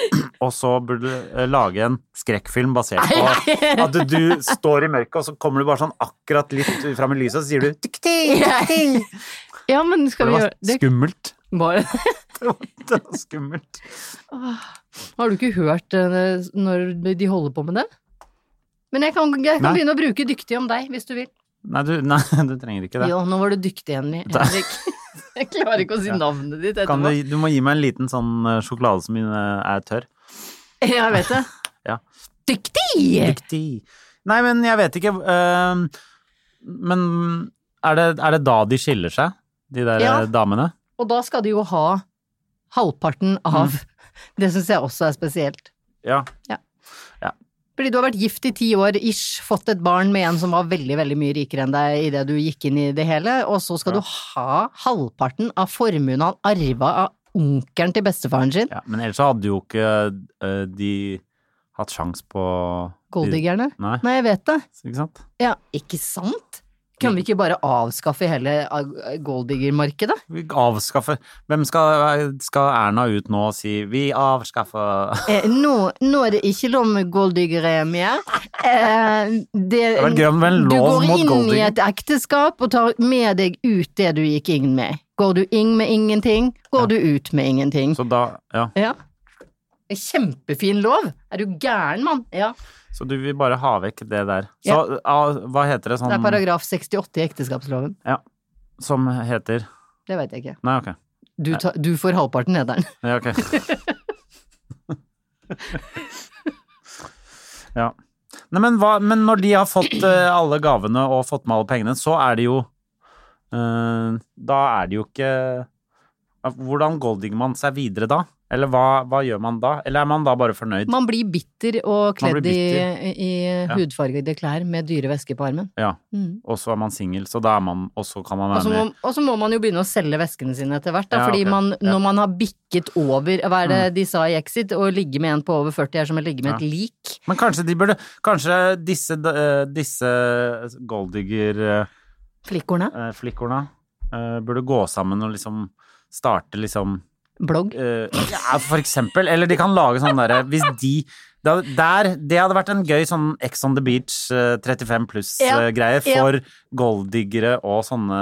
Speaker 3: og så burde du eh, lage en skrekkfilm basert på at du, du står i mørket, og så kommer du bare sånn akkurat litt fram i lyset, og så sier du
Speaker 1: dyktig? Ja, men skal
Speaker 3: Det
Speaker 1: vi
Speaker 3: var
Speaker 1: gjøre det?
Speaker 3: skummelt.
Speaker 1: Bare,
Speaker 3: Det var, det var skummelt.
Speaker 1: har du ikke hørt eh, når de holder på med det? Men jeg kan, jeg kan
Speaker 3: Nei.
Speaker 1: begynne å bruke dyktig om deg, hvis du vil.
Speaker 3: Nei, du, nei, du trenger ikke det.
Speaker 1: Jo, nå var du dyktig, Henri- Henrik. Jeg klarer ikke å si
Speaker 3: Ja.
Speaker 1: navnet ditt
Speaker 3: Kan du,
Speaker 1: etterpå.
Speaker 3: du må gi meg en liten sånn eh, sjokolade som eh, er tørr.
Speaker 1: Jeg vet det.
Speaker 3: Ja.
Speaker 1: Dyktig!
Speaker 3: Riktig. Nei, men jeg vet ikke eh, Men er det, er det da de skiller seg, de der
Speaker 1: Ja.
Speaker 3: eh, damene?
Speaker 1: Og da skal de jo ha halvparten av Det syns jeg også er spesielt.
Speaker 3: Mm. Ja.
Speaker 1: Fordi du har vært gift i ti år, ish, fått et barn med en som var veldig veldig mye rikere enn deg idet du gikk inn i det hele, og så skal
Speaker 3: Ja.
Speaker 1: du ha halvparten av formuen han arva av onkelen til bestefaren sin,
Speaker 3: Ja, men ellers så hadde jo ikke eh, de hatt sjans på
Speaker 1: golddiggerne.
Speaker 3: Nei,
Speaker 1: Nei, jeg vet det.
Speaker 3: ikke sant?
Speaker 1: Ja, ikke sant? Kan
Speaker 3: Mm.
Speaker 1: vi ikke bare avskaffe hele eh, golddiggermarkedet?
Speaker 3: Vi avskaffer Hvem skal, skal Erna ut nå og si 'vi avskaffer
Speaker 1: Eh, nå, nå er det ikke lov med golddiggere mer. Eh, det,
Speaker 3: hadde vært gøy om det var en
Speaker 1: du
Speaker 3: lov
Speaker 1: går inn
Speaker 3: mot
Speaker 1: i
Speaker 3: golddigger.
Speaker 1: et ekteskap og tar med deg ut det du gikk inn med. Går du inn med ingenting, går du ut med ingenting.
Speaker 3: Så da Ja.
Speaker 1: Ja. Kjempefin lov! Er du gæren, mann? Ja.
Speaker 3: Så du vil bare ha vekk det der. Så ah, hva heter
Speaker 1: Det
Speaker 3: det
Speaker 1: er
Speaker 3: sånn
Speaker 1: paragraf 68 i ekteskapsloven.
Speaker 3: som heter
Speaker 1: Det veit jeg ikke.
Speaker 3: Nei, ok.
Speaker 1: Du, ta, du får halvparten, Hederen.
Speaker 3: Ja, ok. ja. Nei, men, hva, men når de har fått eh, alle gavene og fått med alle pengene, så er det jo eh, Da er det jo ikke Hvordan golddigger man seg videre da? Eller hva, hva gjør man da? Eller er man da bare fornøyd?
Speaker 1: Man blir bitter og
Speaker 3: Man blir
Speaker 1: kledd i, i hudfargede klær med dyre vesker på armen.
Speaker 3: Ja.
Speaker 1: Mm.
Speaker 3: Og så er man singel, så da er man Og så kan man
Speaker 1: Og så
Speaker 3: være
Speaker 1: må,
Speaker 3: med
Speaker 1: og så må man jo begynne å selge veskene sine etter hvert, da,
Speaker 3: Ja,
Speaker 1: fordi
Speaker 3: ok.
Speaker 1: man,
Speaker 3: Ja. Mm.
Speaker 1: når man har bikket over, hva er det de sa i Exit, å ligge med en på over 40 er som å ligge med et lik.
Speaker 3: Men kanskje de burde Kanskje disse, eh, disse golddigger... eh,
Speaker 1: Flikkorna.
Speaker 3: eh, flikkorna eh, burde gå sammen og liksom starte liksom
Speaker 1: Blogg.
Speaker 3: eh, ja, For eksempel. Eller de kan lage sånn derre Hvis de da, der, Det hadde vært en gøy sånn Ex on the Beach eh, 35
Speaker 1: Ja,
Speaker 3: pluss-greie
Speaker 1: ja.
Speaker 3: for golddiggere og sånne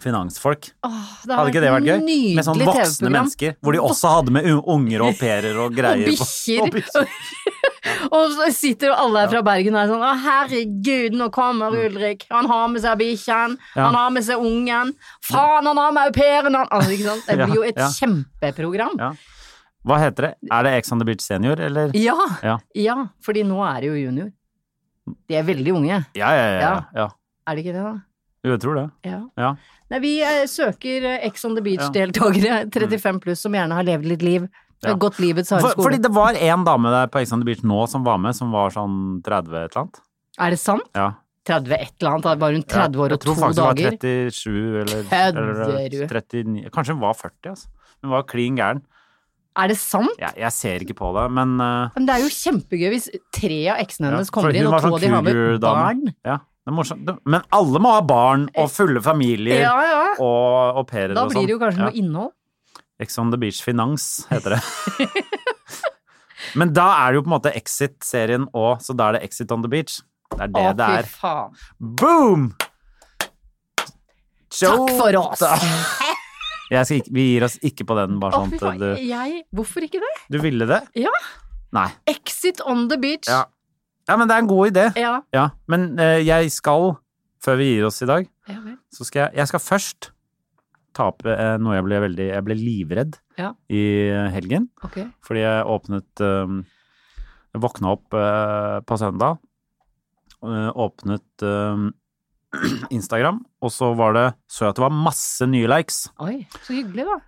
Speaker 3: finansfolk.
Speaker 1: Åh, det
Speaker 3: Hadde ikke det vært gøy?
Speaker 1: nydelig
Speaker 3: Med sånn voksne
Speaker 1: TV-program.
Speaker 3: mennesker, hvor de også hadde med u- unger og au pairer og greier. på-
Speaker 1: bikkjer.
Speaker 3: og bikkjer.
Speaker 1: Og så sitter jo alle her fra Bergen og er sånn Å, herregud, nå kommer Ulrik. Han har med seg bikkjen.
Speaker 3: Mm. Ja.
Speaker 1: Han har med seg ungen. Faen, han har med au pairen! han- Altså, ikke sant? Det
Speaker 3: Ja,
Speaker 1: blir jo et
Speaker 3: ja.
Speaker 1: kjempeprogram.
Speaker 3: Ja. Hva heter det? Er det Ex on the Beach senior, eller?
Speaker 1: Ja.
Speaker 3: Ja.
Speaker 1: Ja, fordi nå er det jo junior. De er veldig unge.
Speaker 3: Ja, ja, ja.
Speaker 1: Ja.
Speaker 3: ja. ja.
Speaker 1: Er det ikke det, da?
Speaker 3: Jo, jeg tror det.
Speaker 1: Ja.
Speaker 3: Ja.
Speaker 1: Nei, vi eh, søker eh, Ex on the Beach-deltakere, 35 pluss, som gjerne har levd litt liv.
Speaker 3: Mm.
Speaker 1: eh,
Speaker 3: Ja.
Speaker 1: Gått livets harde
Speaker 3: For,
Speaker 1: skole.
Speaker 3: fordi det var en dame der på Ex on the Beach nå som var med, som var sånn 30 et eller annet.
Speaker 1: Er det sant?
Speaker 3: Ja.
Speaker 1: 30 et eller annet, da var hun 30 år og to
Speaker 3: Jeg tror
Speaker 1: dager?
Speaker 3: faktisk det var 37 eller,
Speaker 1: Kødder du?
Speaker 3: eller 39 Kanskje hun var 40, altså. Hun var klin gæren.
Speaker 1: Er det sant?
Speaker 3: Jeg, jeg ser ikke på det, men eh,
Speaker 1: Men det er jo kjempegøy hvis tre av eksene
Speaker 3: ja,
Speaker 1: hennes
Speaker 3: for
Speaker 1: kommer inn,
Speaker 3: hun
Speaker 1: og
Speaker 3: var
Speaker 1: to
Speaker 3: sånn
Speaker 1: av de har med
Speaker 3: cougar-dame.
Speaker 1: barn. Eh,
Speaker 3: Ja, det er morsomt. Det- Men alle må ha barn og fulle familier
Speaker 1: Ja, ja.
Speaker 3: og au pairer
Speaker 1: Da
Speaker 3: og sånn.
Speaker 1: blir det jo kanskje
Speaker 3: Ja.
Speaker 1: noe innhold.
Speaker 3: Ex on the Beach Finans heter det. men da er det jo på en måte Exit-serien òg, så da er det Exit on the Beach. Det er det
Speaker 1: Å,
Speaker 3: det
Speaker 1: fy
Speaker 3: er.
Speaker 1: faen.
Speaker 3: Boom!
Speaker 1: Takk for oss!
Speaker 3: Showtime! Jeg skal ikke, vi gir oss ikke på den, bare
Speaker 1: Å,
Speaker 3: sånn
Speaker 1: fy
Speaker 3: at
Speaker 1: faen.
Speaker 3: du
Speaker 1: Jeg Hvorfor ikke det?
Speaker 3: Du ville det?
Speaker 1: Ja.
Speaker 3: Nei.
Speaker 1: Exit on the beach.
Speaker 3: Ja. Ja, men det er en god idé.
Speaker 1: Ja.
Speaker 3: Ja, men eh, jeg skal, før vi gir oss i dag,
Speaker 1: Ja, vel.
Speaker 3: Så skal jeg, jeg skal først tape eh, noe jeg ble veldig Jeg ble livredd
Speaker 1: Ja.
Speaker 3: i helgen.
Speaker 1: Ok.
Speaker 3: Fordi jeg åpnet eh, Jeg våkna opp eh, på søndag, eh, åpnet eh, Instagram, og så var det, så jeg at det var masse nye likes.
Speaker 1: Oi, så hyggelig, da.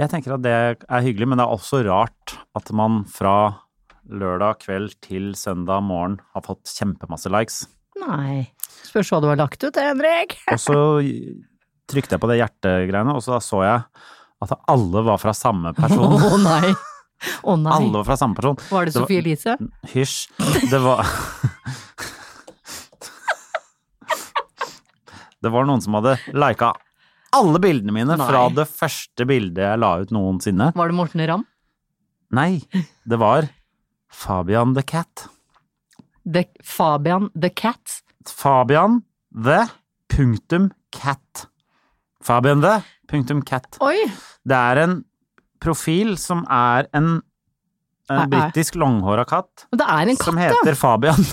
Speaker 3: Jeg tenker at det er hyggelig, men det er også rart at man fra lørdag kveld til søndag morgen har fått kjempemasse likes.
Speaker 1: Nei. Spørs hva du har lagt ut, Henrik.
Speaker 3: Og så trykte jeg på det hjertegreiene, og så da så jeg at alle var fra samme
Speaker 1: Å
Speaker 3: person.
Speaker 1: nei. Å nei.
Speaker 3: Sånn. Alle var fra samme person.
Speaker 1: Var det
Speaker 3: Det var-
Speaker 1: Sophie Elise?
Speaker 3: Hysj. Det var Det var noen som hadde lika alle bildene mine
Speaker 1: Nei.
Speaker 3: fra det første bildet jeg la ut noensinne.
Speaker 1: Var det Morten Ramm?
Speaker 3: Nei, det var Fabian the Cat.
Speaker 1: The, Fabian the Cat?
Speaker 3: Fabian the punktum cat. Fabian the punktum cat.
Speaker 1: Oi!
Speaker 3: Det er en profil som er en,
Speaker 1: Nei,
Speaker 3: en
Speaker 1: nei.
Speaker 3: britisk langhåra katt
Speaker 1: Men det er en
Speaker 3: som
Speaker 1: katt, ja.
Speaker 3: heter Fabian.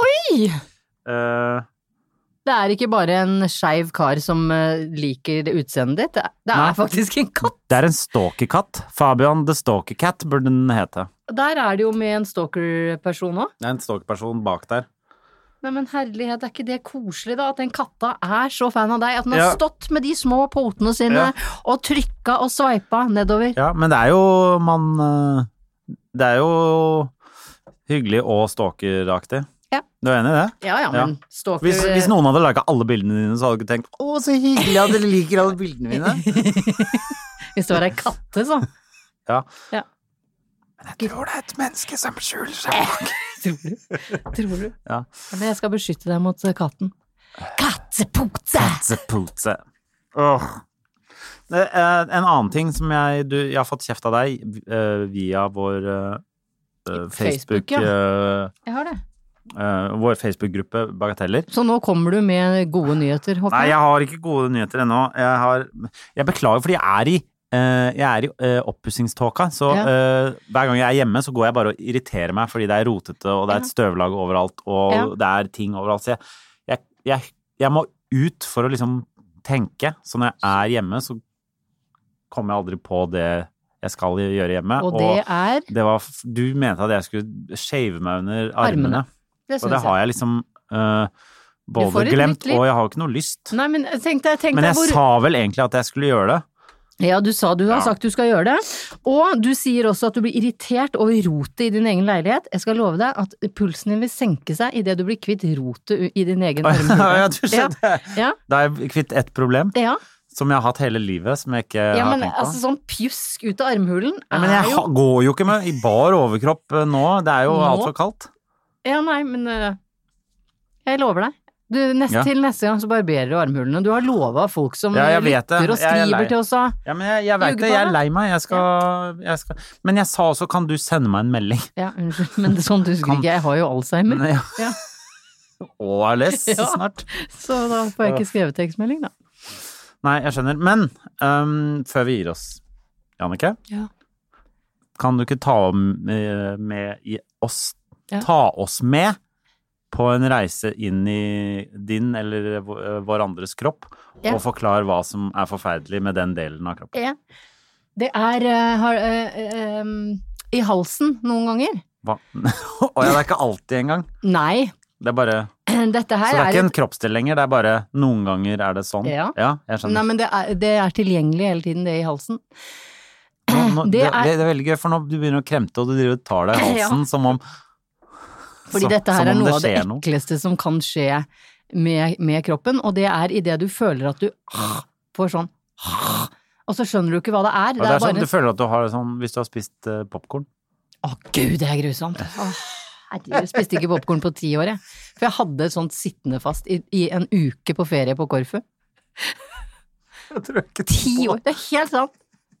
Speaker 1: Oi!
Speaker 3: Eh,
Speaker 1: Det er ikke bare en skeiv kar som eh, liker utseendet ditt. Det er, det
Speaker 3: Nei.
Speaker 1: er faktisk en katt.
Speaker 3: det er en stalkerkatt. Fabian the Stalker Cat burde den hete.
Speaker 1: Der er det jo med en stalker-person òg.
Speaker 3: Det er en stalkerperson bak der.
Speaker 1: Nei, men herlighet, er ikke det koselig da, at den katta er så fan av deg, at den har
Speaker 3: Ja.
Speaker 1: stått med de små potene sine
Speaker 3: Ja.
Speaker 1: og trykka og sveipa nedover.
Speaker 3: Ja, men det er jo man eh, Det er jo hyggelig og stalkeraktig.
Speaker 1: Ja.
Speaker 3: Du er enig i det?
Speaker 1: Ja, ja, men stalker...
Speaker 3: Hvis, hvis noen hadde laga alle bildene dine, så hadde du ikke tenkt 'Å, så hyggelig at dere liker alle bildene mine'.
Speaker 1: Hvis det var ei katte, så.
Speaker 3: Ja.
Speaker 1: Ja.
Speaker 3: Men jeg tror det er et menneske som skjuler seg.
Speaker 1: Tror du? Tror du?
Speaker 3: Ja.
Speaker 1: Men jeg skal beskytte deg mot eh, katten. Kattepote!
Speaker 3: Kattepote. Åh. Det er En annen ting som jeg du, Jeg har fått kjeft av deg eh, via vår eh, eh, Facebook,
Speaker 1: Facebook, ja.
Speaker 3: eh,
Speaker 1: Jeg har det.
Speaker 3: eh, Vår Facebook-gruppe Bagateller.
Speaker 1: Så nå kommer du med gode nyheter, håper
Speaker 3: Nei,
Speaker 1: jeg.
Speaker 3: jeg har ikke gode nyheter ennå. Jeg, har, jeg beklager, fordi jeg er i eh, jeg er i eh, oppussingståka, så
Speaker 1: Ja.
Speaker 3: eh, hver gang jeg er hjemme, så går jeg bare og irriterer meg fordi det er rotete, og det er et støvlag overalt, og
Speaker 1: Ja.
Speaker 3: det er ting overalt. Så jeg, jeg, jeg, jeg må ut for å liksom tenke. Så når jeg er hjemme, så kommer jeg aldri på det jeg skal gjøre hjemme.
Speaker 1: Og det er
Speaker 3: det var, f- du mente at jeg skulle shave meg under armene,
Speaker 1: Det
Speaker 3: og det
Speaker 1: syns jeg.
Speaker 3: har jeg liksom eh,
Speaker 1: får
Speaker 3: både
Speaker 1: et nytt
Speaker 3: glemt,
Speaker 1: liv.
Speaker 3: og jeg har jo ikke noe lyst.
Speaker 1: Nei, men eh, tenk deg, tenk
Speaker 3: Men
Speaker 1: deg
Speaker 3: jeg
Speaker 1: hvor
Speaker 3: sa vel egentlig at jeg skulle gjøre det.
Speaker 1: Ja, du sa du har
Speaker 3: Ja.
Speaker 1: sagt du skal gjøre det. Og du sier også at du blir irritert over rotet i din egen leilighet. Jeg skal love deg at pulsen din vil senke seg idet du blir kvitt rotet u- i din egen
Speaker 3: ja,
Speaker 1: armhule.
Speaker 3: du skjønte.
Speaker 1: Ja,
Speaker 3: Da er jeg kvitt ett problem
Speaker 1: ja.
Speaker 3: som jeg har hatt hele livet, som jeg ikke
Speaker 1: ja,
Speaker 3: har
Speaker 1: men
Speaker 3: tenkt på.
Speaker 1: altså sånn pjusk ut av armhulen
Speaker 3: Nei, men
Speaker 1: er
Speaker 3: jeg
Speaker 1: jo
Speaker 3: ha- går jo ikke med i bar overkropp eh, nå. Det er jo
Speaker 1: Nå?
Speaker 3: altfor kaldt.
Speaker 1: Ja, nei, men øh, jeg lover deg. Du, nest,
Speaker 3: Ja.
Speaker 1: Til neste gang så barberer du armhulene. Du har lova folk som
Speaker 3: Ja, jeg vet det.
Speaker 1: lytter og
Speaker 3: Jeg er lei.
Speaker 1: skriver til oss og
Speaker 3: Ja, men jeg, jeg vet
Speaker 1: Ljuger
Speaker 3: det.
Speaker 1: på
Speaker 3: Jeg er
Speaker 1: det.
Speaker 3: lei meg. Jeg skal, jeg skal Men jeg sa også kan du sende meg en melding?
Speaker 1: Ja, unnskyld, men sånn husker
Speaker 3: Kan-
Speaker 1: ikke jeg. Jeg har jo alzheimer.
Speaker 3: Ja.
Speaker 1: Ja.
Speaker 3: Og ALS
Speaker 1: Ja.
Speaker 3: snart.
Speaker 1: Så da får jeg ikke skrevet tekstmelding, da.
Speaker 3: Nei, jeg skjønner. Men øhm, før vi gir oss, Jannicke,
Speaker 1: Ja.
Speaker 3: kan du ikke ta med, med i oss
Speaker 1: Ja.
Speaker 3: Ta oss med på en reise inn i din eller vå- vår andres kropp,
Speaker 1: Ja.
Speaker 3: og forklare hva som er forferdelig med den delen av kroppen.
Speaker 1: Ja. Det er eh, har, eh, em, i halsen noen ganger.
Speaker 3: Hva? Å ja, det er ikke alltid engang.
Speaker 1: Nei,
Speaker 3: Det er bare
Speaker 1: dette
Speaker 3: Så
Speaker 1: her
Speaker 3: det er
Speaker 1: er,
Speaker 3: ikke en kroppsdel lenger, det er bare noen ganger er det sånn.
Speaker 1: Ja.
Speaker 3: jeg
Speaker 1: et, Nei,
Speaker 3: skjønner.
Speaker 1: men det er, det er tilgjengelig hele tiden, det i halsen.
Speaker 3: Nå, nå, det,
Speaker 1: det
Speaker 3: det,
Speaker 1: er-
Speaker 3: det er veldig gøy, for nå du begynner å kremte, og du driver og tar deg i
Speaker 1: Ja.
Speaker 3: halsen som om
Speaker 1: Fordi
Speaker 3: som-
Speaker 1: dette
Speaker 3: som
Speaker 1: her er
Speaker 3: om
Speaker 1: noe av det
Speaker 3: skjer noe.
Speaker 1: ekleste som kan skje med, med kroppen, og det er idet du føler at du får sånn Og så skjønner du ikke hva det er.
Speaker 3: Ja, det er sånn,
Speaker 1: bare
Speaker 3: du føler at du har det sånn hvis du har spist uh, popkorn.
Speaker 1: Å gud, det er grusomt. Å, herregud, jeg spiste ikke popkorn på ti år, jeg. For jeg hadde et sånt sittende fast i, i en uke på ferie på Korfu. Ti år! Det er helt sant.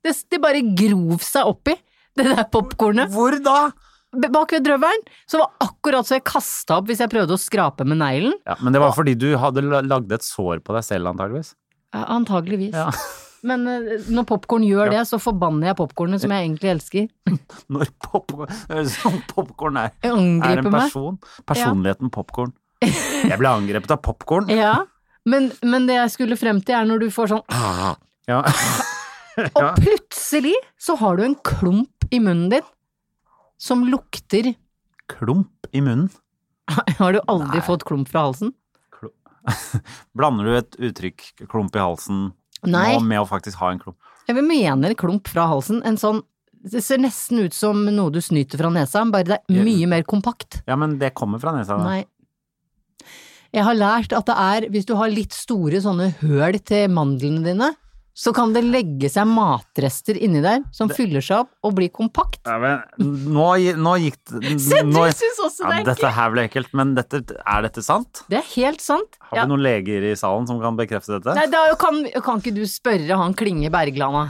Speaker 1: Det, det bare grov seg oppi, det der popkornet.
Speaker 3: Hvor da?
Speaker 1: B- Bak ved drøvelen. Så var akkurat så jeg kasta opp hvis jeg prøvde å skrape med neglen.
Speaker 3: Ja, men det var fordi du hadde la- lagd et sår på deg selv, antageligvis.
Speaker 1: Ja, antageligvis.
Speaker 3: Ja.
Speaker 1: Men eh, når popkorn gjør
Speaker 3: Ja.
Speaker 1: det, så forbanner jeg popkornet som jeg egentlig elsker.
Speaker 3: Når popkorn Sånn popkorn er.
Speaker 1: Jeg
Speaker 3: Er en
Speaker 1: angriper meg.
Speaker 3: person. Personligheten popcorn popkorn. Jeg ble angrepet av popkorn.
Speaker 1: Ja. Men, men det jeg skulle frem til, er når du får sånn
Speaker 3: Ja.
Speaker 1: Og
Speaker 3: ja.
Speaker 1: plutselig så har du en klump i munnen din som lukter
Speaker 3: Klump i munnen.
Speaker 1: Har du aldri fått klump fra halsen?
Speaker 3: Blander du et uttrykk, klump i halsen,
Speaker 1: Nei.
Speaker 3: nå med å faktisk ha en klump?
Speaker 1: Jeg vil mene en klump fra halsen. En sånn Det ser nesten ut som noe du snyter fra nesa, bare det er mye mer kompakt.
Speaker 3: Ja, men det kommer fra nesa. da.
Speaker 1: Nei. Jeg har lært at det er, hvis du har litt store sånne høl til mandlene dine, så kan det legge seg matrester inni der som fyller seg opp og blir kompakt.
Speaker 3: Ja, men, nå, gi- nå gikk det
Speaker 1: Se, du
Speaker 3: nå-
Speaker 1: syns også det
Speaker 3: ja,
Speaker 1: er
Speaker 3: Dette her ble ekkelt, men dette, er dette sant?
Speaker 1: Det er helt sant.
Speaker 3: Har vi
Speaker 1: Ja.
Speaker 3: noen leger i salen som kan bekrefte dette?
Speaker 1: Nei, da kan, kan ikke du spørre han Klinge Berglanda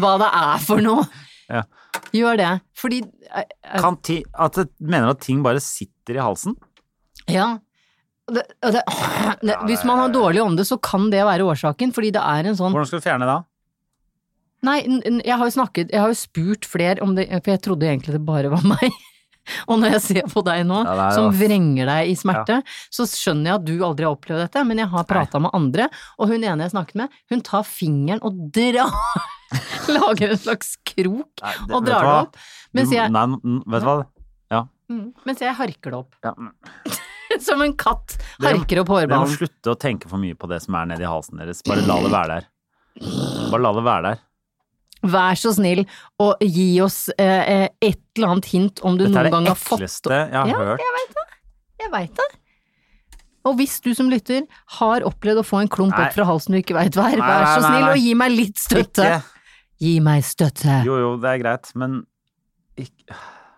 Speaker 1: hva det er for noe?
Speaker 3: Ja.
Speaker 1: Gjør det. Fordi eh, eh,
Speaker 3: Kan ti, at det mener at ting bare sitter i halsen?
Speaker 1: Mm. Ja. Det, og det, det, hvis man har dårlig ånde, så kan det være årsaken, fordi det er en sånn
Speaker 3: Hvordan skal du fjerne det da?
Speaker 1: Nei, n- n- jeg har jo snakket Jeg har jo spurt flere om det, for jeg trodde egentlig det bare var meg. Og når jeg ser på deg nå,
Speaker 3: Ja, det er
Speaker 1: som
Speaker 3: jo-
Speaker 1: vrenger deg i smerte, så skjønner jeg at du aldri har opplevd dette, men jeg har prata med andre, og hun ene jeg snakket med, hun tar fingeren og drar Lager en slags krok
Speaker 3: Nei, det-
Speaker 1: og
Speaker 3: vet du
Speaker 1: drar det
Speaker 3: hva?
Speaker 1: opp, mens
Speaker 3: Du-
Speaker 1: jeg,
Speaker 3: Nei, n- vet du hva?
Speaker 1: mm, mens jeg harker det opp.
Speaker 3: Ja, men-
Speaker 1: Som en katt
Speaker 3: Dere-
Speaker 1: harker opp
Speaker 3: Dere må
Speaker 1: hårballen.
Speaker 3: slutte å tenke for mye på det som er nedi halsen deres. Bare la det være der. Bare la det være der.
Speaker 1: Vær så snill å gi oss eh, eh, et eller annet hint om du
Speaker 3: Dette er
Speaker 1: noen gang
Speaker 3: det
Speaker 1: har fått
Speaker 3: ekleste jeg har
Speaker 1: Ja,
Speaker 3: hørt.
Speaker 1: Jeg veit det. Og hvis du som lytter har opplevd å få en klump
Speaker 3: Nei.
Speaker 1: opp fra halsen du ikke veit hva er,
Speaker 3: Nei,
Speaker 1: vær så
Speaker 3: nei, nei,
Speaker 1: snill
Speaker 3: nei.
Speaker 1: og gi meg litt støtte.
Speaker 3: Ikke.
Speaker 1: Gi meg støtte.
Speaker 3: Jo, jo, det er greit, men ikke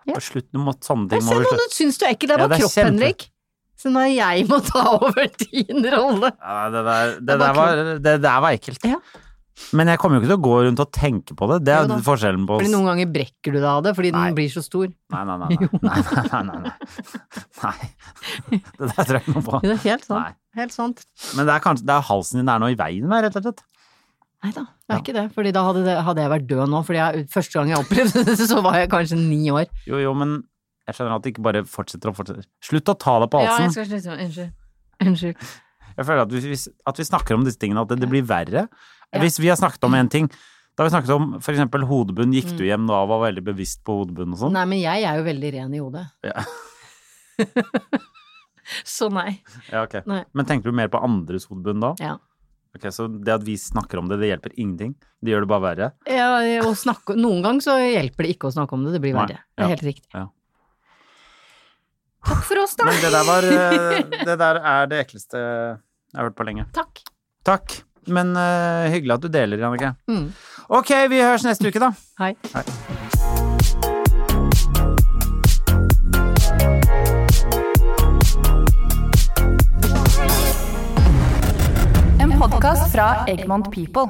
Speaker 1: Ja.
Speaker 3: Bare Slutt, du må sånne
Speaker 1: Jeg
Speaker 3: ting må
Speaker 1: ser
Speaker 3: du
Speaker 1: nå,
Speaker 3: slutte
Speaker 1: du syns du er ekkel. Det er
Speaker 3: Ja,
Speaker 1: bare
Speaker 3: det er
Speaker 1: kropp,
Speaker 3: kjempe-
Speaker 1: Henrik. Så nå er jeg må ta over din rolle.
Speaker 3: Ja, det der, det,
Speaker 1: Det var
Speaker 3: der var, det der var ekkelt.
Speaker 1: Ja.
Speaker 3: Men jeg kommer jo ikke til å gå rundt og tenke på det. Det er
Speaker 1: Jo da.
Speaker 3: forskjellen på
Speaker 1: Fordi
Speaker 3: oss.
Speaker 1: noen ganger brekker du deg av det fordi
Speaker 3: Nei.
Speaker 1: den blir så stor.
Speaker 3: Nei, nei, nei. Nei, nei, nei. nei, nei. nei. Det der tror jeg ikke noe på.
Speaker 1: Det er helt
Speaker 3: Nei.
Speaker 1: sant. Helt sant.
Speaker 3: Men det er kanskje det er halsen din er nå i veien med, rett og slett.
Speaker 1: Nei da, det er ikke det. Fordi da hadde, det, hadde jeg vært død nå. Fordi jeg, første gang jeg opplevde det, så var jeg kanskje ni år.
Speaker 3: Jo, jo, men jeg skjønner at det ikke bare fortsetter og fortsetter. Slutt å ta deg på halsen.
Speaker 1: skal slutte. Unnskyld. Unnskyld.
Speaker 3: Jeg føler at vi, at vi snakker om disse tingene, at det, det blir verre.
Speaker 1: Ja.
Speaker 3: Hvis vi har snakket om en ting, da har vi snakket om for eksempel hodebunn, gikk
Speaker 1: Mm.
Speaker 3: du hjem da og var veldig bevisst på hodebunn og sånn?
Speaker 1: Nei, men jeg er jo veldig ren i hodet.
Speaker 3: Ja.
Speaker 1: så nei.
Speaker 3: Ja, ok.
Speaker 1: Nei.
Speaker 3: Men tenker du mer på andres hodebunn da?
Speaker 1: Ja.
Speaker 3: Ok, så det at vi snakker om det, det hjelper ingenting. Det gjør det bare verre.
Speaker 1: Ja, å snakke, noen ganger så hjelper det ikke å snakke om det, det blir
Speaker 3: Nei,
Speaker 1: verre. Det
Speaker 3: ja,
Speaker 1: er helt riktig.
Speaker 3: ja.
Speaker 1: Takk for oss, da.
Speaker 3: Men det der var eh, Det der er det ekleste jeg har hørt på lenge.
Speaker 1: Takk.
Speaker 3: Takk. Men eh, hyggelig at du deler, Jannicke.
Speaker 1: Mm.
Speaker 3: Ok, vi høres neste uke, da.
Speaker 1: Hei.
Speaker 7: En podkast fra Egmont People.